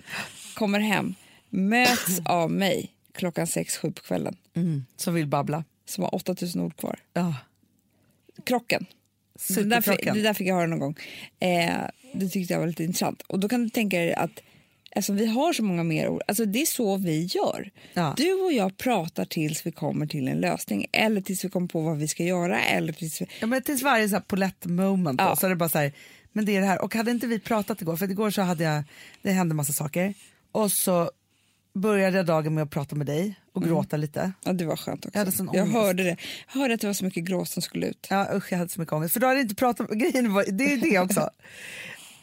Kommer hem, möts av mig klockan sex sju på kvällen Mm. Som vill babbla. som har 8000 ord kvar. Ja. Krocken. Det där, fick, Superklockan. det där fick jag höra någon gång. Eh, det tyckte jag var lite intressant. Och då kan du tänka dig att alltså, vi har så många mer ord. Alltså, det är så vi gör. Ja. Du och jag pratar tills vi kommer till en lösning eller tills vi kommer på vad vi ska göra. Eller tills vi... Ja, men tills varje så här polett moment då, Ja. så är det bara så här, men det är det här. Och hade inte vi pratat igår, för att igår så hade jag, det hände massa saker. Och så började jag dagen med att prata med dig och Mm. gråta lite. ja, det var skönt också. Jag hade sån jag ångest. hörde det. Jag hörde att det var så mycket gråt som skulle ut. Ja usch jag hade så mycket ångest, för då hade jag inte pratat om grejen, var- det är det också.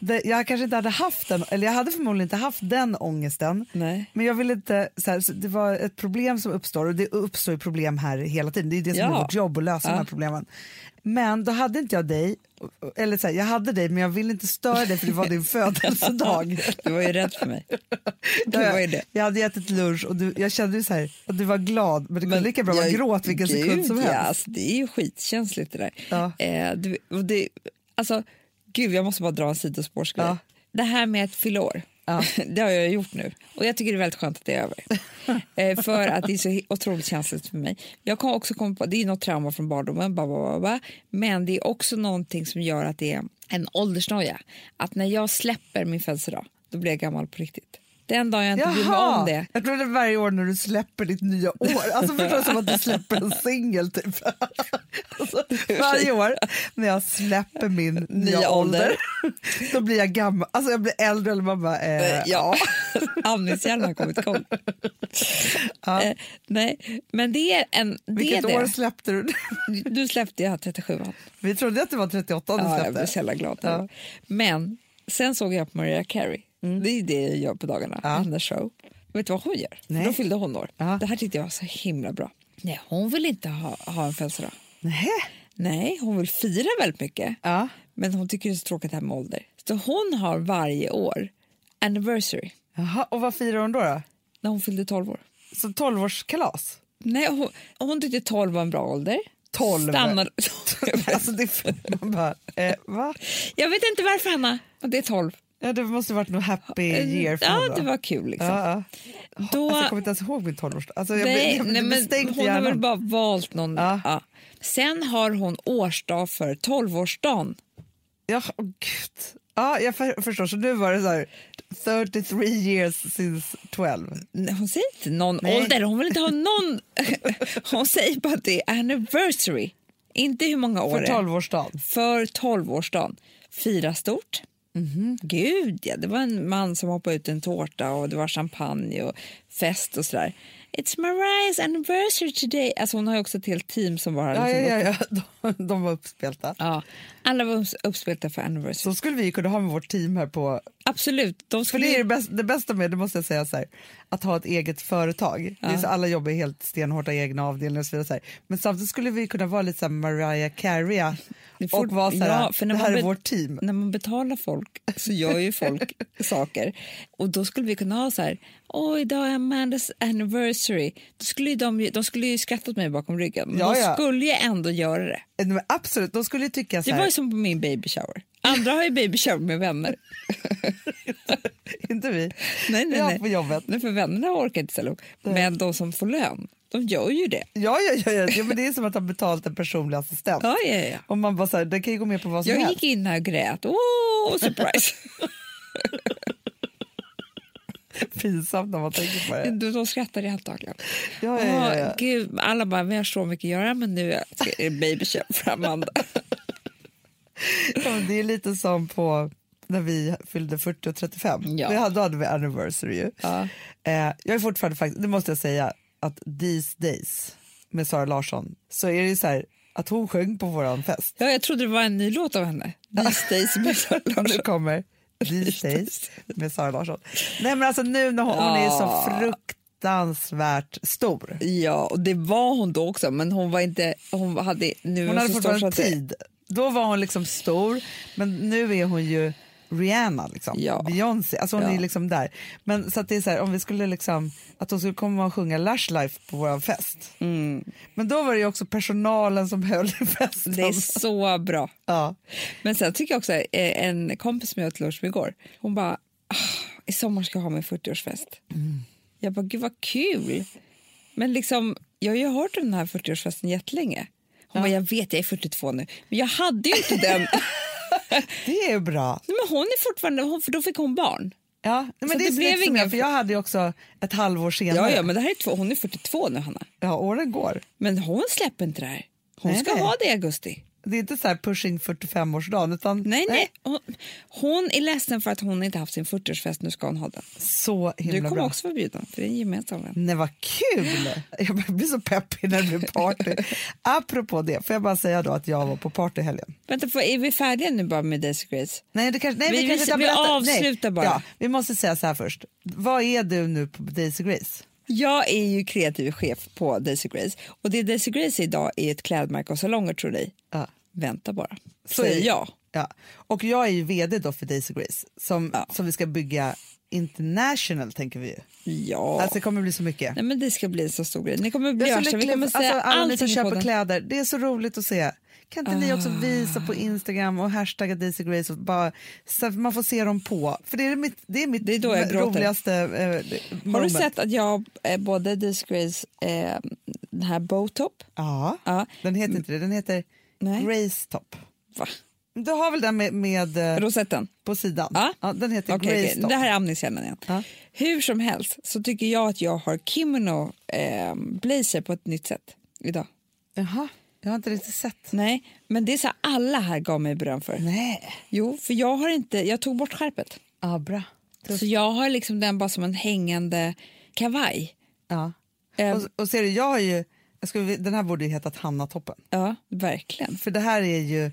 Det, jag kanske inte hade haft den, eller jag hade förmodligen inte haft den ångesten. Nej. Men jag ville inte, så här, så det var ett problem som uppstår och det uppstår ju problem här hela tiden. Det är det som Ja. är vårt jobb att lösa de här problemen. Men då hade inte jag dig, eller så här, jag hade dig men jag ville inte störa dig för det var din födelsedag. Du var ju rädd för mig. Det var ju det. Jag hade ätit lunch och du, jag kände ju så här, att du var glad men det kunde lika bra vara jag- gråt vilken sekund gud, som Ja, helst. alltså, det är ju skitkänsligt det där. Ja. Eh, du, och det, alltså, gud, jag måste bara dra en sidospårsgrej. Ja. Det här med att fylla år, det har jag gjort nu. Och jag tycker det är väldigt skönt att det är över. eh, för att det är så he- otroligt känsligt för mig. Jag kan också komma på, det är något trauma från barndomen, ba, ba, ba, ba, men det är också någonting som gör att det är en åldersnoja. Att när jag släpper min födelsedag, då blir jag gammal på riktigt. Den dagen jag inte bryr mig om det, jag tror det är varje år när du släpper ditt nya år. Alltså förstår du som att du släpper en singel typ. Alltså, varje år när jag släpper min nya, ålder, Nya ålder. då blir jag gammal. Alltså jag blir äldre eller man bara, eh, Eh, ja, amningshjärnan har kommit igång. Eh, nej, men det är en... Det är vilket år det. släppte du? Du släppte jag 37 an. Vi trodde att det var 38 du Ja, jag blev släppte. så jävla glad. Ja. Mm. Men sen såg jag på Mariah Carey. Det är det jag gör på dagarna, hennes show. Vet du vad hon gör? Nej. Då fyllde hon år. Ja. Det här tyckte jag var så himla bra. Nej, hon vill inte ha, ha en födelsedag. Nej. Nej, hon vill fira väldigt mycket. Ja. Men hon tycker det är så tråkigt det här med ålder. Så hon har varje år anniversary, Jaha, och vad firar hon då? då? när hon fyllde 12 år. Så 12-årskalas? Nej, hon, hon tyckte 12 var en bra ålder. 12? Stannade. Alltså det är, man bara, eh, va? Jag vet inte varför, Hanna. men Det är 12. Ja, det måste varit något happy year för Eh, ja, henne det då. var kul. Liksom. Ja, ja. Då, Alltså, jag kommer inte ens ihåg min tonårsdag. Alltså, jag, nej, jag, jag, nej, men hon har väl bara valt någon. Ja. Ja. Sen har hon årsdag för 12-årsdagen. Ja, åh, gud. Ja, jag för, förstår. Så nu var det så här 33 years since 12. Nej, Hon säger inte någon Nej. ålder, hon vill inte ha någon. hon säger bara att det är anniversary. Inte hur många år För det är. 12-årsdagen. för 12-årsdagen. Fira stort. Mhm. Gud, ja. Det var en man som hoppade ut en tårta och det var champagne och fest och sådär. It's Mariah's anniversary today. Alltså hon har ju också ett helt team som var här. Ja, liksom. ja, ja, ja. De, de var uppspelta. Ja, Alla var upps- uppspelta för anniversary. Så skulle vi kunna ha med vårt team här på... Absolut. De För skulle... det är det bästa, det bästa med, det måste jag säga så här, att ha ett eget företag. Det är så alla jobbar helt stenhårt i egna avdelningar och så vidare. Så här. Men samtidigt skulle vi kunna vara lite så här Mariah Carey Fort- och vara så här, Ja, för det när här man är bet- vårt team. När man betalar folk så gör ju folk saker. Och då skulle vi kunna ha så här, åh idag är Amandas anniversary. Då skulle ju de, ju- de skulle ju skratta åt mig bakom ryggen. Men Ja, de ja. skulle ju ändå göra det. Nej, Eh, men absolut, de skulle ju tycka så Det här, var ju som på min baby shower. Andra har ju baby shower med vänner. inte vi. Nej, nej, Ja, nej. på jobbet. Nej, för vännerna orkar inte ställa upp. Men de som får lön, de gör ju det. Ja, ja, ja, ja. ja men det är som att ha betalt en personlig assistent. Ja, ja, ja. Och man bara så här, den kan ju gå med på vad som Jag helst. gick in här och grät. Åh, surprise! Pinsamt när man tänker på det. De de skrattade antagligen. Ja, ja, ja, ja. Åh, Gud, alla bara, vi har så mycket att göra, men nu är det baby shower för Amanda. Ja, men det är lite som på när vi fyllde 40 och 35. Ja. Vi hade, då hade vi anniversary ju. Ja. Eh, jag är fortfarande faktiskt, det måste jag säga, att these days med Sara Larsson så är det ju så här att hon sjöng på våran fest. Ja, jag trodde det var en ny låt av henne. These days med Sara Nu Larsson. kommer These days med Sara Larsson. Nej, men alltså nu när hon, hon är så fruktansvärt stor. Ja, och det var hon då också, men hon var inte... Hon hade, nu är Hon hade så stor så fortfarande att det- tid. Då var hon liksom stor, men nu är hon ju Rihanna, liksom. Ja. Beyoncé. Alltså hon Ja. är ju liksom där. Men så att det är så här, om vi skulle liksom, att hon skulle komma och sjunga Lush Life på vår fest. Men då var det ju också personalen som höll i festen. Mm. Det är så bra. Ja. Men sen tycker jag också, eh, en kompis som jag åt lunch med igår, hon bara, "Ah, i sommar ska jag ha min 40-årsfest. Mm. Jag bara, gud vad kul. Men liksom, jag har ju hört om den här 40-årsfesten jättelänge. Hon bara, jag vet jag är 42 nu, men jag hade ju inte den. Det är bra. Nej, men hon är fortfarande, hon, för då fick hon barn. Ja, men Så det, det blev blev inga... ingen- för jag hade ju också ett halvår Ja, senare. ja, men det här är två, hon är 42 nu Hanna. Ja, åren går. Men hon släpper inte det här. Hon Nej, ska nej. ha det i augusti. Det är inte så här pushing 45-årsdagen utan Nej, nej. Hon, hon är ledsen för att hon inte haft sin 40-årsfest, nu ska hon ha den. så Du himla kommer bra. också vara bjuden, för det är en gemensam vän. Nej, vad kul! Jag börjar bli så peppig när det blir party. Apropå det, får jag bara säga då att jag var på party i helgen? Vänta, får- är vi färdiga nu bara med Daisy Grace? Nej, det kanske, nej, vi, Vi- kanske vi- inte har vi berättat. avslutar nej. bara. Ja, vi måste säga så här först. Vad är du nu på Daisy Grace? Jag är ju kreativ chef på Daisy Grace och det Daisy Grace är idag är ett klädmärke och salonger tror ni. Ja. Vänta bara, Så så är är det. jag. Ja. Och jag är ju vd då för Daisy Grace som, Ja. som vi ska bygga international tänker vi ju. Ja. Alltså det kommer bli så mycket. Nej, men det ska bli en så stor grej. Ni kommer bli Jag är arga. så Vi lycklig kommer för- säga alltså, alla ni som allting i köper podden. kläder, det är så roligt att se. Kan inte ni också visa Ah. på Instagram och hashtagga Daisy Grace och bara, så att man får se dem på? För det är mitt, det är mitt Det är då jag gråter. roligaste eh, Har du moment. sett att jag, eh, både Daisy Grace, eh, den här Bowtop, Ja. Ja. Den heter inte det, den heter Nej. Grace Top. va? Du har väl den med, med eh, rosetten? på sidan? Ja. den heter Okej, Grace okej. Top. Det här är amningskällan igen. Ja. Hur som helst så tycker jag att jag har kimono eh, blazer på ett nytt sätt idag. Jaha, jag har inte riktigt sett. Nej, men det är så här, alla här gav mig beröm för. Nej. Jo, för jag har inte, jag tog bort skärpet. Ja, bra. Så jag har liksom den bara som en hängande kavaj. Ja. Eh, Och, och ser du, jag har ju, jag skulle, den här borde ju hetat Hanna Toppen. ja, verkligen. För det här är ju,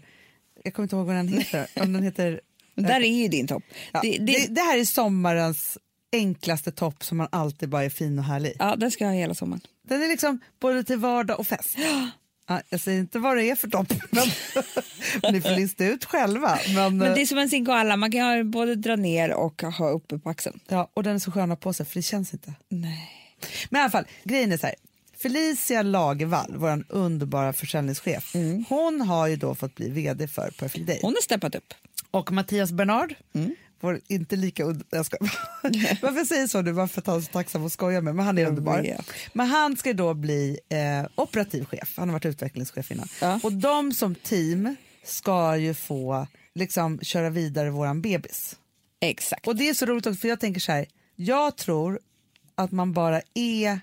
jag kommer inte ihåg vad den heter. Om den heter Men där är ju din topp. ja, det, det, det, det, här är sommarens enklaste topp som man alltid bara är fin och härlig i. ja, den ska jag ha hela sommaren. Den är liksom både till vardag och fest. Ja, jag säger inte vad det är för topp, men ni får lista ut själva. Men, eh, Men det är som en singoalla, man kan ha både dra ner och ha uppe på axeln. ja, och den är så skön att ha på sig, för det känns inte. Nej. Men i alla fall, grejen är så här. Felicia Lagervall, vår underbara försäljningschef, hon har ju då fått bli vd för Perfect Day. Hon har steppat upp. Och Mattias Bernard, Mm. vår inte lika und- jag ska... Varför säger jag så nu? Varför att han är så tacksam och skojar med Men han är underbar. vet. Men han ska ju då bli eh, operativ chef. Han har varit utvecklingschef innan. Ja. Och de som team ska ju få liksom köra vidare våran bebis. Exakt. Och det är så roligt också för jag tänker så här. Jag tror att man bara är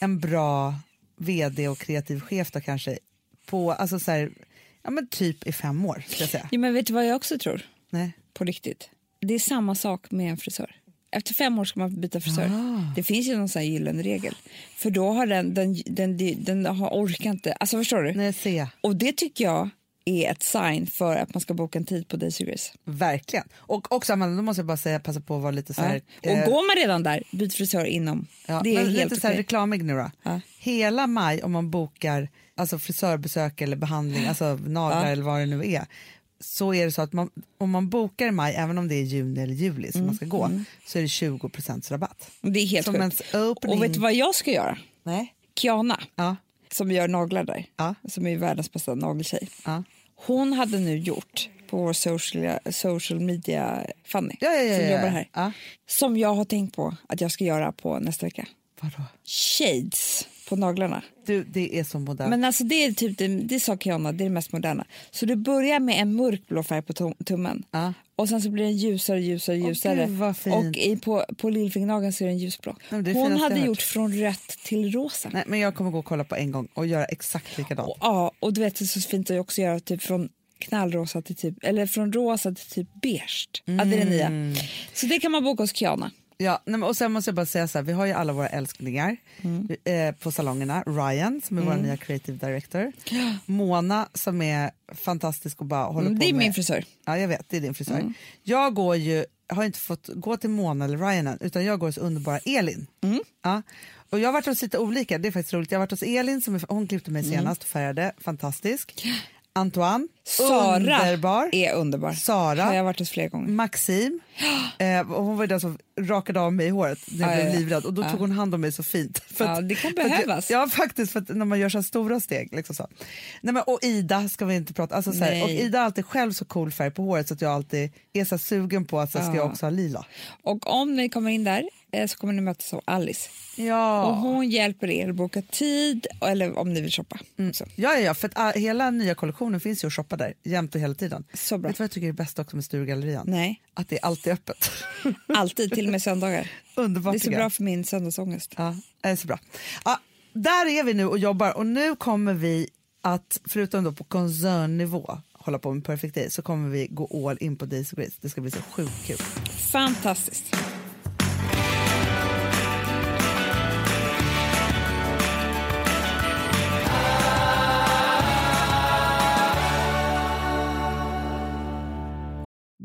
en bra vd och kreativ chef då kanske på, alltså så här, ja men typ i fem år ska jag säga. Ja, men vet du vad jag också tror? Nej. På riktigt. Det är samma sak med en frisör. Efter fem år ska man byta frisör. Ah. Det finns ju någon sån här gyllene regel. För då har den, den, den, den, har orkar inte. Alltså förstår du? Nej, ser jag. Och det tycker jag är ett sign för att man ska boka en tid på Daisy Grace. Verkligen. Och också Amanda, då måste jag bara säga, passa på att vara lite så här... eh, Ja. Och går man redan där, byt frisör inom. ja, det är men helt lite så här okej. reklamig nu då. Ja. Hela maj om man bokar alltså frisörbesök eller behandling, alltså naglar eller vad det nu är, så är det så att man, om man bokar i maj, även om det är juni eller juli som man ska gå, Mm. så är det 20 rabatt. Det är helt Som ens sjukt. opening- Och vet du vad jag ska göra? Nej? Kiana, Ja. som gör naglar där, Ja. som är världens bästa nageltjej. Ja. Hon hade nu gjort på vår social, social media, Fanny, Ja, ja, ja, som ja, ja. jobbar här, Ja. som jag har tänkt på att jag ska göra på nästa vecka. Vadå? Shades på naglarna. Du, det är så modernt. Men alltså det är typ det, det sa Kiana, det är det mest moderna. Så du börjar med en mörkblå färg på tum- tummen. Ja. Och sen så blir den ljusare, ljusare, ljusare. gud, vad fint. och i, på, på lillfingernageln så är den ljusblå. men det är det Hon finaste jag hade hört. gjort från rött till rosa. Nej, men jag kommer gå och kolla på en gång och göra exakt likadant. Och, ja, och du vet det är så fint att också göra typ från knallrosa till typ, eller från rosa till typ beige. Mm. Ja, det är det nya. Så det kan man boka hos Kiana. Ja, nej, men- och sen måste jag bara säga så här, vi har ju alla våra älsklingar Mm. eh, på salongerna. Ryan som är vår nya creative director. Mona som är fantastisk och bara håller Mm, på det är med... min Mm. frisör. Ja, jag vet, det är din frisör. Jag går ju har inte fått gå till Mona eller Ryan än, utan jag går hos underbara Elin. Mm. Ja. Och jag har varit hos lite olika, det är faktiskt roligt. Jag har varit hos Elin, som är, hon klippte mig Mm. senast och färgade, fantastisk. Antoine, Sara underbar. är underbar. Sara. Mm. Har jag varit hos flera gånger. Maxim, eh, och hon var ju den som rakade av mig i håret när jag Ja, blev ja, ja. livrädd och då tog hon hand om mig så fint. För Ja, det kan för att jag- behövas. Ja faktiskt, för att när man gör så här stora steg. Liksom så. Nej, men, och Ida ska vi inte prata alltså, så här, Nej. och Ida har alltid själv så cool färg på håret så att jag alltid är så här sugen på att så här, ska jag också ha lila. Och om ni kommer in där eh, så kommer ni mötas av Alice. Ja. Och hon hjälper er att boka tid eller om ni vill shoppa. Så. Ja, ja, ja, för att ah, hela nya kollektionen finns ju att shoppa där jämt och hela tiden. Så bra. Vet du vad jag tycker är bäst också med Sturegallerian? Nej. Att det är alltid öppet. Alltid, till och med söndagar. Underbart Det är så tycker jag. bra för min söndagsångest. Ja, det är så bra. Ja, där är vi nu och jobbar och nu kommer vi att, förutom då på koncernnivå, hålla på med Perfect Day, så kommer vi gå all in på Days of Grace. Det ska bli så sjukt kul. Fantastiskt.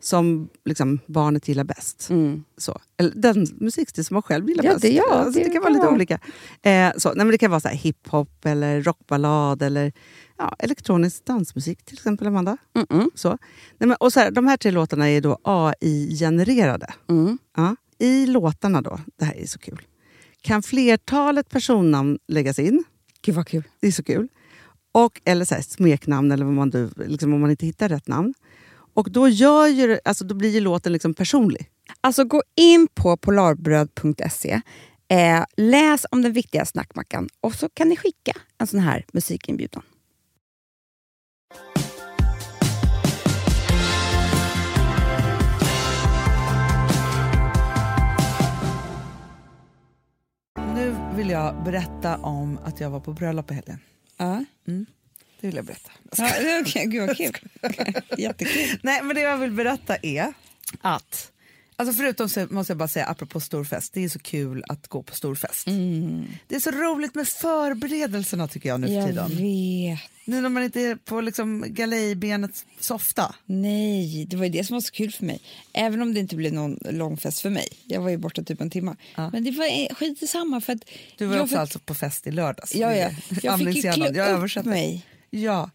som liksom, barnet gillar bäst. Så. Eller den musikstil som man själv gillar Mm. Ja, bäst. det- ja, alltså, det, det kan vara kan lite vara. olika. Eh, så. Nej, men det kan vara så här hiphop, eller rockballad eller ja, elektronisk dansmusik till exempel, Amanda. Så. Nej, men, och så här, de här tre låtarna är då AI-genererade. Mm. Ja. I låtarna då, det här är så kul, kan flertalet personnamn läggas in. Gud vad kul. Det är så kul. Och, eller så här, smeknamn, eller vad man, nu- liksom, om man inte hittar rätt namn. Och då, gör ju, det- alltså, då blir ju låten liksom personlig. Alltså gå in på polarbröd.se, eh, läs om den viktiga snackmackan och så kan ni skicka en sån här musikinbjudan. Nu vill jag berätta om att jag var på bröllop i helgen. Mm. Ja. Det vill jag berätta. Ja, det- Okej, gud vad kul. Jättekul. Nej, men det jag vill berätta är Att? Alltså förutom så måste jag bara säga, apropå storfest, det är så kul att gå på storfest. Det är så roligt med förberedelserna tycker Mm. jag nu för Jag tiden. vet. Nu när man inte är på liksom galejbenet så ofta. Nej, det var ju det som var så kul för mig. Även om det inte blev någon långfest för mig. Jag var ju borta typ en timme. Men det var eh, skit i samma för att... Du var jag också fick- alltså på fest i lördags. Ja, Det är ja. Jag fick ju amningshjärnan. klä Jag upp översätter. mig. Ja.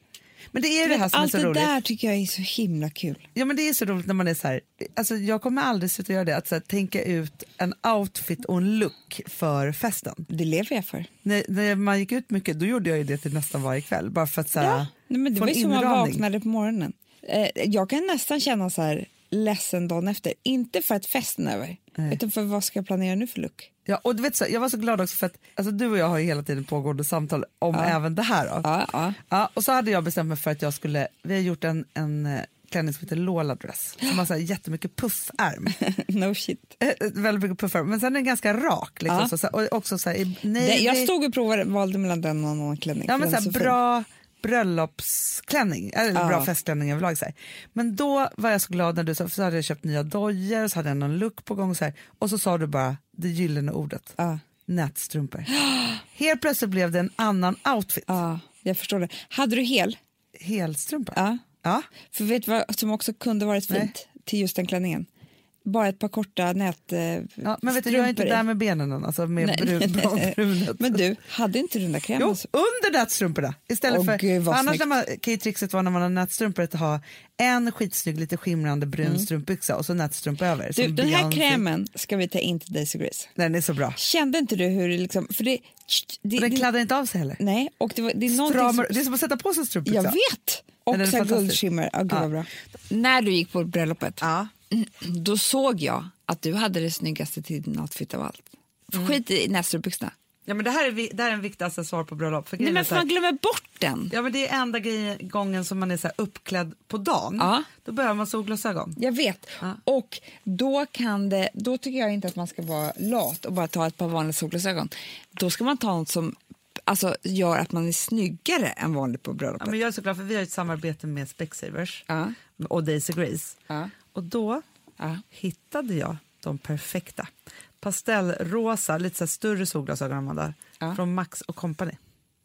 Men det är ju det här som är Allt så det roligt. där tycker jag är så himla kul. Ja men det är så roligt när man är så här, alltså jag kommer aldrig sluta göra det, att så här, tänka ut en outfit och en look för festen. Det lever jag för. När, när man gick ut mycket då gjorde jag ju det till nästan varje kväll, bara för att så här, Nej, men det få var en ju som man inramning. vaknade på morgonen. Eh, jag kan nästan känna så här ledsen dagen efter. Inte för att festen är över, utan för vad ska jag planera nu för look? Ja, och du vet så, jag var så glad också för att alltså, du och jag har ju hela tiden pågående samtal om även det här. Då. Ja, ja. Ja, och så hade jag bestämt mig för att jag skulle, vi har gjort en, en eh, klänning som heter Lola Dress som har så här jättemycket puffärm. no shit. Eh, eh, Väldigt mycket puffärm, men sen är den ganska rak. Liksom, Ja. så, så, här, och också så här, i- Det, nej, jag det- stod och provade, valde mellan den och en annan klänning. Ja, för men så den här, är så fin. bra bröllopsklänning, eller Ja. bra festklänning överlag. Så här. Men då var jag så glad när du sa, för så hade jag köpt nya dojor, så hade jag någon look på gång så här, och så sa du bara det gyllene ordet. Ja. Nätstrumpor. Helt plötsligt blev det en annan outfit. Ja, jag förstår det. Hade du hel? Helstrumpa. Ja. Ja. För vet du vad som också kunde varit fint till just den klänningen? Bara ett par korta nät... Eh, Ja, men vet du, jag är inte strumpor i. där med benen än, alltså med Nej, brun, nej, nej. brunet. Men du, hade inte du den där Jo, krämen? alltså? så- under nätstrumporna. Istället Åh, för, gud, för vad annars snyggt. när man, kan ju trixet vara när man har nätstrumpor att ha en skitsnygg lite skimrande brun strumpbyxa och så nätstrumpa över. Mm. Du, som den här Beyoncé. krämen ska vi ta in till Daisy Grace. Den är så bra. Kände inte du hur det liksom... För det, det, Och den det- kladdar inte av sig heller. Nej, och det, var, det är någonting Stramar, det är som... som att sätta på sig en strumpbyxa. Jag vet! Och Den är så här fantastisk. guldskimmer. Ja, gud vad bra. När du gick på bröllopet, då såg jag att du hade det snyggaste till din outfit av allt. Mm. Skit i näsdukbyxorna. Ja, men det, här är, vi- det här är en viktig accessoar på bröllop. För Nej, grejen är men så för här- man glömmer bort den. Ja, men det är enda grejen, gången som man är så här uppklädd på dagen. Ja. Då behöver man solglasögon. Jag vet. Och då, kan det, då tycker jag inte att man ska vara lat och bara ta ett par vanliga solglasögon. Då ska man ta något som alltså, gör att man är snyggare än vanligt på Ja, bröllopet. men jag är så glad för vi har ett samarbete med Specsavers Ja. och Daisy Grace. Ja. Och då Ja. hittade jag de perfekta. Pastellrosa, lite så här större solglasögon Amanda, Ja. från Max och Company.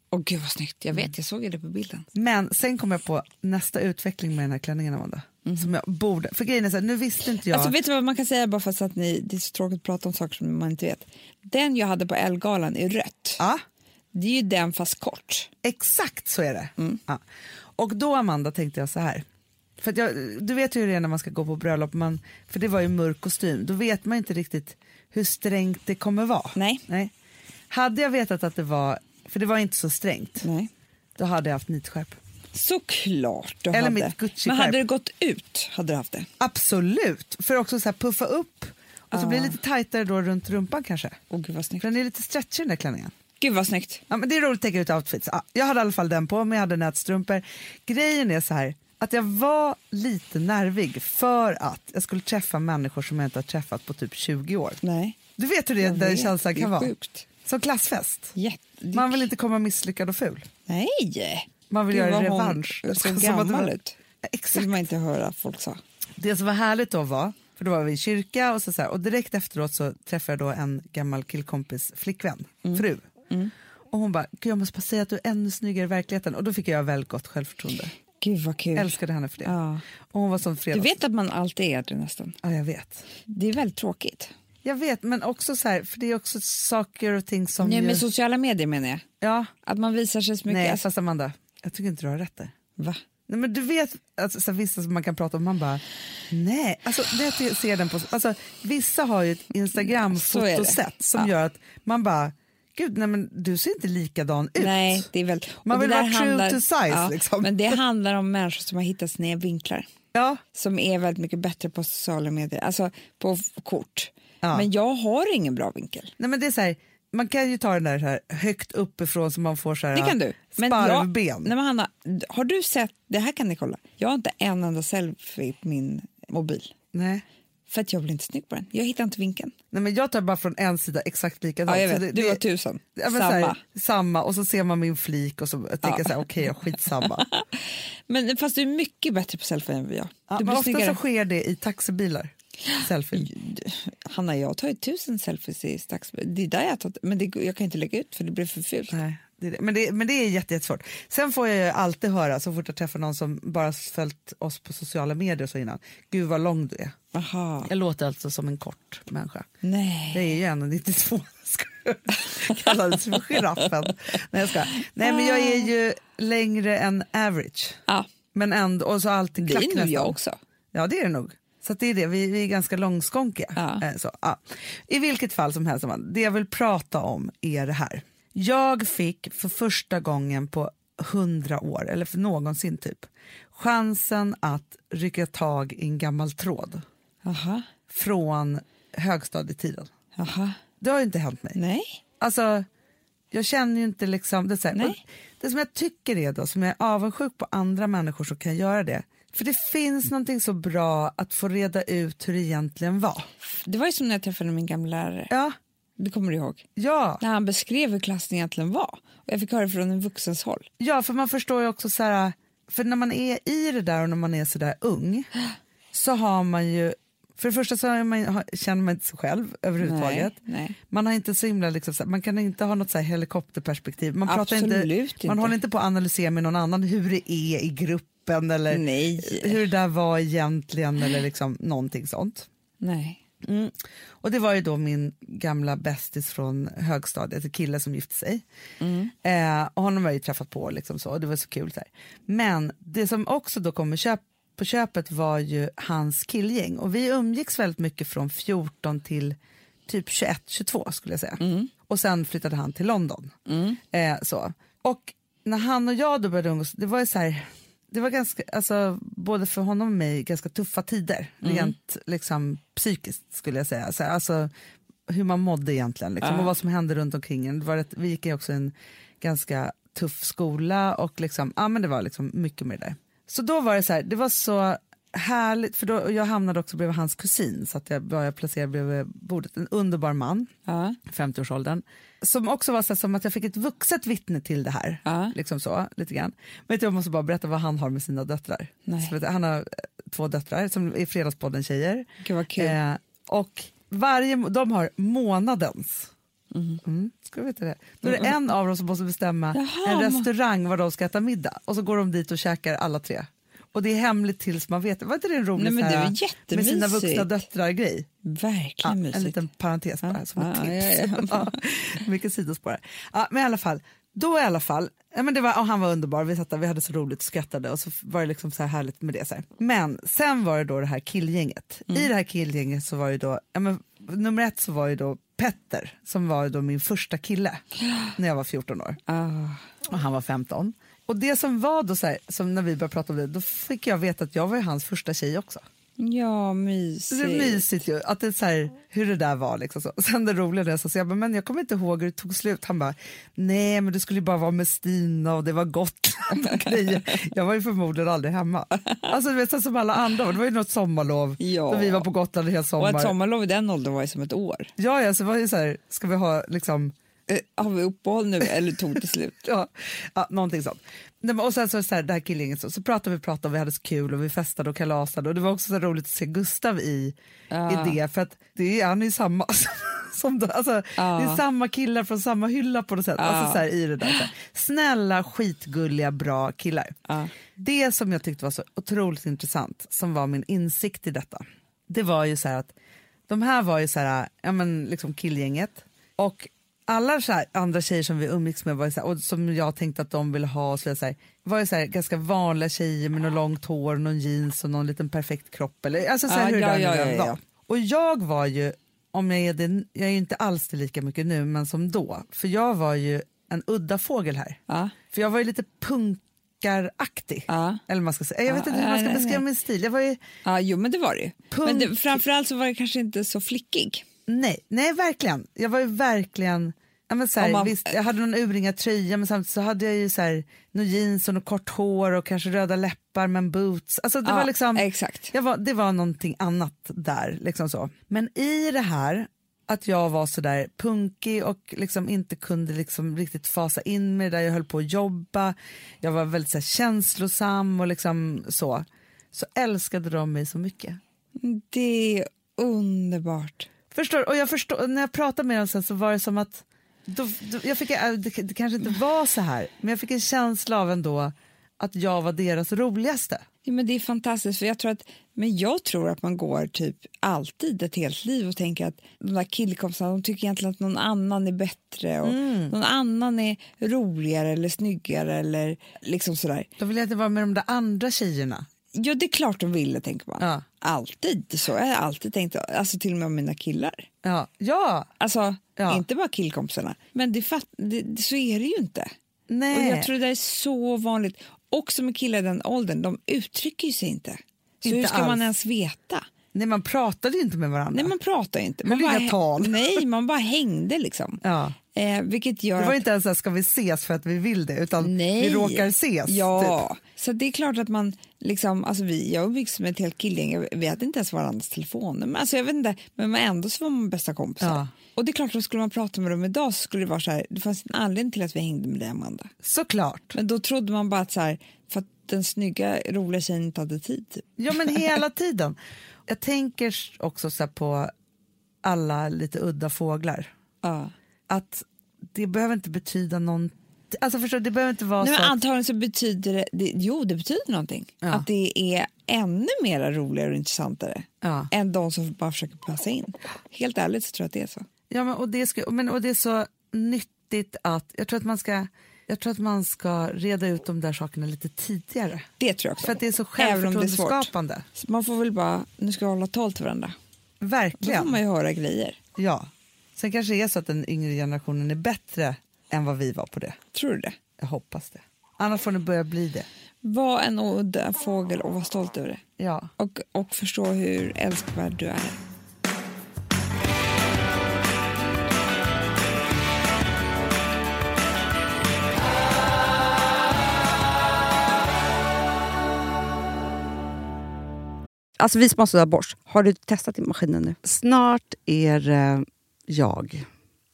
Åh gud vad snyggt. Jag Mm. vet, jag såg ju det på bilden. Men sen kom jag på nästa utveckling med den här klänningen Amanda. Mhm. Som jag borde, för grejen är så här, nu visste inte jag. Alltså, vet du vad man kan säga bara för att ni, det är så tråkigt att prata om saker som man inte vet. Den jag hade på Ellegalan i rött, ja. det är ju den fast kort. Exakt så är det. Ja. Och då Amanda tänkte jag så här. För att jag, du vet ju hur det är när man ska gå på bröllop, man, för det var ju mörk kostym. Då vet man inte riktigt hur strängt det kommer vara. Nej. Hade jag vetat att det var, för det var inte så strängt, Nej. då hade jag haft nitskärp. Såklart du Eller hade. mitt Gucci-skärp. Men hade det gått ut hade du haft det. Absolut, för också så här puffa upp och så blir det lite tajtare då runt rumpan kanske. Åh gud vad snyggt. För den är lite stretchig den där klänningen. Gud vad snyggt. Ja, men det är roligt att tänka ut outfits. Ja, jag hade i alla fall den på mig, jag hade nätstrumpor. Grejen är så här, att jag var lite nervig för att jag skulle träffa människor som jag inte har träffat på typ 20 år. Nej. Du vet hur det, Jag den vet, känslan det kan är vara. sjukt. Som klassfest. Jätte... det- Man vill inte komma misslyckad och ful. Nej! Man vill Gud, göra vad hon revansch. såg Som att det var- gammal ut. Det Exakt. vill man inte höra folk sa. Det som var härligt då var, för då var vi i kyrka och, så Mm. så här, och direkt efteråt så träffade jag då en gammal killkompis flickvän, fru. Och hon bara, Gud, jag måste bara säga att du är ännu snyggare i verkligheten. Och då fick jag väldigt gott självförtroende. Gud vad kul. Jag älskade henne för det. Ja. Och hon var som Du fredags... vet att man alltid är det nästan. Ja, jag vet. Det är väldigt tråkigt. Jag vet, men också så här, för det är också saker och ting som... Nej, ju... med sociala medier menar jag. ja, Att man visar sig så mycket. nej, Alltså, fast Amanda, jag tycker inte du har rätt där. va? Nej, men du vet alltså, så här, vissa som man kan prata om, man bara nej. Alltså, när jag ser den på, alltså, vissa har ju ett Så är det. Instagram-fotosätt som Ja. gör att man bara, gud nej, men du ser inte likadan ut. Nej, det är väldigt... och Man det vill där vara true to size, liksom. Men det handlar om människor som har hittat sina vinklar. Ja, Som är väldigt mycket bättre på sociala medier, alltså på f- kort. Ja. Men jag har ingen bra vinkel. nej, men det är så här, man kan ju ta den där så här, högt uppifrån så man får så här, Det kan du. jag, sparvben. nej, men Hanna, har du sett, det här kan ni kolla. Jag har inte en enda selfie på min mobil. nej. För att jag blir inte snygg på den. Jag hittar inte vinkeln. nej, men jag tar bara från en sida exakt likadant. Ja, jag Så vet. det- du det- var tusen. Ja, men Samma. Så här, samma, och så ser man min flik och så tänker jag så här, okej, ja, skitsamma. Men fast du är mycket bättre på selfie än vad jag. Ja, men du blir ofta snyggare. så sker det i taxibilar. Selfie. Hanna, jag tar ju tusen selfies i stax. Det är där jag har tagit, men det, jag kan inte lägga ut för det blir för fult. Nej, det är det. Men, det, men det är jätte, jättesvårt. Sen får jag ju alltid höra, så fort jag träffar någon som bara följt oss på sociala medier och så innan, gud vad lång du är. Aha. Jag låter alltså som en kort människa. Jag Nej. är ju 1,92. Kallades för giraffen. Nej, jag ska. Nej, men jag är ju längre än average. Ja, Men ändå, och så alltid det klack är nog nästan. jag också. Ja, det är det nog. Så att det är det. Vi, vi är ganska långskånkiga. Ja. Eh, Så, ja. I vilket fall som helst, Amanda, det jag vill prata om är det här. Jag fick för första gången på hundra år, eller för någonsin typ, chansen att rycka tag i en gammal tråd Aha. från högstadietiden. Aha. Det har ju inte hänt mig. Nej. Alltså, jag känner ju inte liksom... Det, är så här, Nej. och det som jag tycker är då, som jag är avundsjuk på andra människor som kan göra det. För det finns någonting så bra att få reda ut hur det egentligen var. Det var ju som när jag träffade min gamla lärare. Ja, Det kommer du ihåg? ja, När han beskrev hur klassen egentligen var. Och jag fick höra från en vuxens håll. ja, för man förstår ju också så här... För när man är i det där och när man är så där ung så har man ju... För det första så är man, har- känner man inte sig själv överhuvudtaget. Nej, nej. Man har inte så himla, liksom, så här- man kan inte ha något så här helikopterperspektiv. Man, pratar inte, Absolut inte. man håller inte på att analysera med någon annan hur det är i gruppen eller Nej. hur det där var egentligen eller liksom någonting sånt. Nej. Och det var ju då min gamla bästis från högstadiet, en kille som gifte sig. Eh, och honom har jag ju träffat på liksom så, och det var så kul. Så här. Men det som också då kom med köp, på köpet var ju hans killgäng och vi umgicks väldigt mycket från 14 till typ 21, 22 skulle jag säga. Och sen flyttade han till London. Eh, så. Och när han och jag då började umgås, det var ju så här, det var ganska, alltså, både för honom och mig ganska tuffa tider, rent liksom, psykiskt skulle jag säga. Så här, alltså, hur man mådde egentligen liksom, och vad som hände runt omkring en. Det var rätt, vi gick ju också i en ganska tuff skola och liksom, ja, men det var liksom mycket med det där. Så då var det så här, det var så härligt, för då, och jag hamnade också bredvid hans kusin så att jag var jag placerad bredvid bordet, en underbar man. Ja. 50-årsåldern. Som också var så här, som att jag fick ett vuxet vittne till det här. Ja. Liksom så, lite grann. Men vet du, jag måste bara berätta vad han har med sina döttrar. Nej. Så vet du, han har eh, två döttrar som är Fredagspodden-tjejer. Gud vad kul. Eh, och varje, må- de har månadens. Mm-hmm. Mm, ska du veta det? Då är det en av dem som måste bestämma Jaha, en må- restaurang var de ska äta middag. Och så går de dit och käkar alla tre. Och det är hemligt tills man vet det. Var inte det en rolig Nej, men sån det här, är ju med sina jättemysigt. vuxna döttrar-grej? Ja, Verkligen mysigt. en liten parentes bara, Ja, som ett ja, tips. ja, Ja, Mycket sidospår. här. Ja, men i alla fall, då i alla fall, ja, men det var, och han var underbar, vi satt där, vi hade så roligt och skrattade och så var det liksom så här härligt med det. Så här. Men sen var det då det här killgänget. Mm. I det här killgänget så var ju då, ja, men, nummer ett så var ju då Petter som var ju då min första kille när jag var 14 år Ah. och han var 15. Och det som var då så här, som när vi började prata om det, då fick jag veta att jag var ju hans första tjej också. Ja, Så Det mysigt. är mysigt ju, att det är så här, hur det där var. Liksom så. Sen det roliga när jag sa så, jag bara, men jag kommer inte ihåg hur det tog slut. Han bara, nej men du skulle ju bara vara med Stina och det var gott och grejer. Jag var ju förmodligen aldrig hemma. Alltså du vet, så som alla andra, det var ju något sommarlov Ja. då vi var på Gotland en hel Och ett sommar. sommarlov i den åldern var ju som ett år. ja, ja, så var det ju så här, ska vi ha liksom Eh, har vi uppehåll nu eller tog det slut? ja, ja, någonting sånt. Nej, men- Och sen så, så här, det här killgänget, så, så pratade vi pratade och vi hade så kul och vi festade och kalasade och det var också så roligt att se Gustav i, i det för att det är, han är ju samma som Som då, alltså, Det är samma killar från samma hylla på något sätt. Alltså, så här, i det där, så här. Snälla, skitgulliga, bra killar. Det som jag tyckte var så otroligt intressant, som var min insikt i detta, det var ju så här att de här var ju så här, ja men liksom killgänget och alla så här, andra tjejer som vi umgicks med var ju så här, och som jag tänkte att de ville ha och så vidare, så här, var ju så här, ganska vanliga tjejer med något långt hår, någon jeans och någon liten perfekt kropp eller alltså så här, Ja, hur det ja, där ja, nu ja, än ja. var. Och jag var ju, om jag är det, jag är ju inte alls det lika mycket nu men som då, för jag var ju en udda fågel här. Ja. För jag var ju lite punkaraktig. Ja. Eller vad man ska säga. Jag vet Ja, inte hur man nej, ska nej, beskriva nej. min stil. Jag var ju, Ja, jo, men det var det ju. Men det, Punk. framförallt så var det kanske inte så flickig. Nej, nej verkligen. Jag var ju verkligen... Ja, men så här, Om man- visst, jag hade någon urringad tröja men samtidigt så hade jag ju så här, någon jeans och något kort hår och kanske röda läppar men boots. Alltså, det, Ja, var liksom, exakt. jag var, det var någonting annat där. Liksom så. Men i det här att jag var så där punkig och liksom inte kunde liksom riktigt fasa in mig där jag höll på att jobba. Jag var väldigt så här, känslosam och liksom så. Så älskade de mig så mycket. Det är underbart. Förstår, och jag förstår, när jag pratade med dem sen så var det som att, då, då, jag fick, äh, det, det kanske inte var så här, men jag fick en känsla av ändå att jag var deras roligaste. Ja, men det är fantastiskt. För jag tror att, men jag tror att man går typ alltid ett helt liv och tänker att de där killkompisarna de tycker egentligen att någon annan är bättre och Mm. någon annan är roligare eller snyggare eller liksom sådär. Då ville jag inte vara med de där andra tjejerna. Ja, det är klart de ville, tänker man. Ja. Alltid så. Jag har alltid tänkt, alltså till och med om mina killar. Ja, ja Alltså, Ja. inte bara killkompisarna. Men det fatt, det, det, så är det ju inte. nej. Och jag tror det där är så vanligt. Också med killar i den åldern, de uttrycker ju sig inte. Så Inte hur ska alls. man ens veta? nej, man pratade ju inte med varandra. Nej, man pratar ju inte. Höll Man bara, inga tal. Nej, man bara hängde liksom. Ja. Eh, vilket gör Det var att... inte ens så här, ska vi ses för att vi vill det, utan Nej. vi råkar ses. Ja, Typ. så det är klart att man liksom, alltså vi, jag umgicks med ett helt killgäng, vi hade inte ens varandras telefonnummer, alltså jag vet inte, men man- ändå så var man bästa kompisar. Ja. Och det är klart, då skulle man prata med dem idag så skulle det vara så här, det fanns en anledning till att vi hängde med dig Amanda. Såklart. Men då trodde man bara att så här, för att den snygga, roliga tjejen inte hade tid. typ. Ja, men hela tiden. Jag tänker också så här på alla lite udda fåglar. Ja. att det behöver inte betyda någon... Alltså förstår du, det behöver inte vara Nej, så men Alltså att... antagligen så betyder det, det, jo det betyder någonting, Ja. att det är ännu mer roligare och intressantare Ja. än de som bara försöker passa in. Helt ärligt så tror jag att det är så. Ja, men, och, det ska, men, och det är så nyttigt att... Jag tror att man ska... Jag tror att man ska reda ut de där sakerna lite tidigare. Det tror jag också. För att det är så Även om det är svårt. självförtroendeskapande. Så Man får väl bara, nu ska vi hålla tal till varandra. Då får Verkligen. man ju höra grejer. Ja. Sen kanske det är så att den yngre generationen är bättre än vad vi var på det. Tror du det? Jag hoppas det. Annars får ni börja bli det. Var en udda fågel och var stolt över det. Ja. Och, och förstå hur älskvärd du är. Alltså vi som har sådär borst, har du testat i maskinen nu? Snart är eh, jag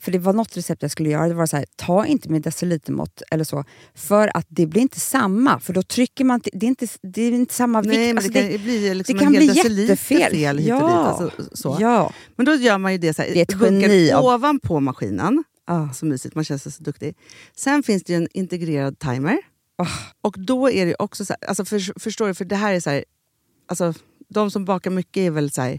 För det var något recept jag skulle göra. Det var så här, ta inte med decilitermått eller så. För att det blir inte samma. För då trycker man, till- det är inte, det är inte samma vikt. Nej, men Alltså, det kan ju bli liksom det kan en hel bli deciliter jättefel. fel hit och dit, alltså, så. Ja. Men då gör man ju det så här, Det är ett i bunken geni av- ovanpå maskinen. Ah. Så mysigt, man känns så duktig. Sen finns det ju en integrerad timer. Ah. Och då är det ju också så här, alltså för, förstår du, för det här är så här, alltså de som bakar mycket är väl så här,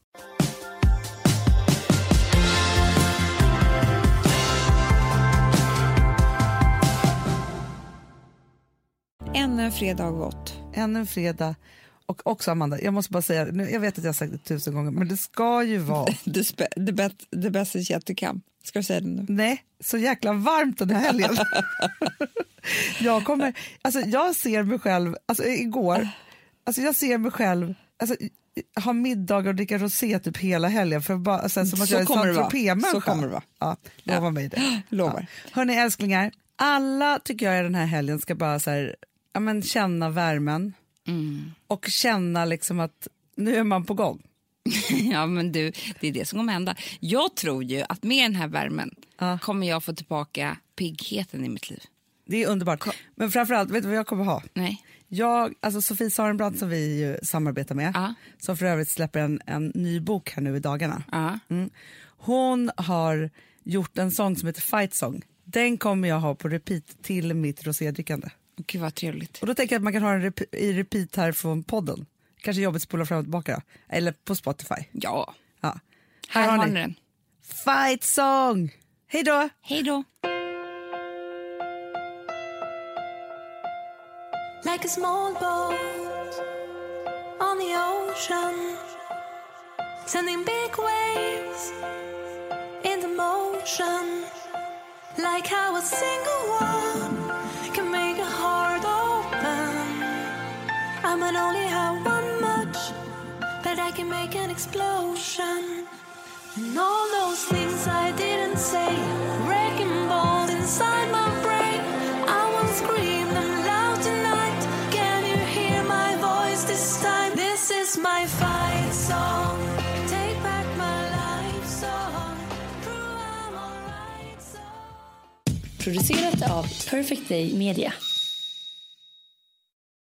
Ännu en fredag har gått. Ännu en fredag. Och också Amanda, jag måste bara säga, nu, jag vet att jag har sagt det tusen gånger, men det ska ju vara, Det, spe, det, bet, det bästa är jättekam. Ska du säga det nu? nej, så jäkla varmt den här helgen. jag kommer, alltså jag ser mig själv, alltså igår, alltså jag ser mig själv, alltså ha middagar och dricka rosé typ hela helgen för bara, alltså, som att Så jag är kommer det vara. Saint-Tropez-människa. Så kommer det vara. Ja, lova mig det. Lovar. Hörni älsklingar, alla tycker jag i den här helgen ska bara så här, ja, men känna värmen Mm. och känna liksom att nu är man på gång. Ja, men du, det är det som kommer hända. Jag tror ju att med den här värmen kommer jag få tillbaka piggheten i mitt liv. Det är underbart. Men framförallt, vet du vad jag kommer ha? Nej. Jag, alltså Sofie Sarenbrant som vi ju samarbetar med, Ja. som för övrigt släpper en, en ny bok här nu i dagarna. Ja. Mm. Hon har gjort en sång som heter Fight Song. Den kommer jag ha på repeat till mitt rosédrickande. Gud vad trevligt. Och då tänker jag att man kan ha den rep- i repeat här från podden. Kanske jobbigt spola fram och tillbaka då. Eller på Spotify. Ja, Ja. här, har ni den. Fight Song! Hej då! Hej då. like a small boat on the ocean, sending big waves into motion, like how a single one can make a heart open. I might only have one much, but I can make an explosion. And all those things I didn't say, wrecking balls inside my brain. I will scream them loud tonight. Can you hear my voice this time? This is my fight song. Take back my life song. Prove I'm alright song. Producerat av Perfect Day Media.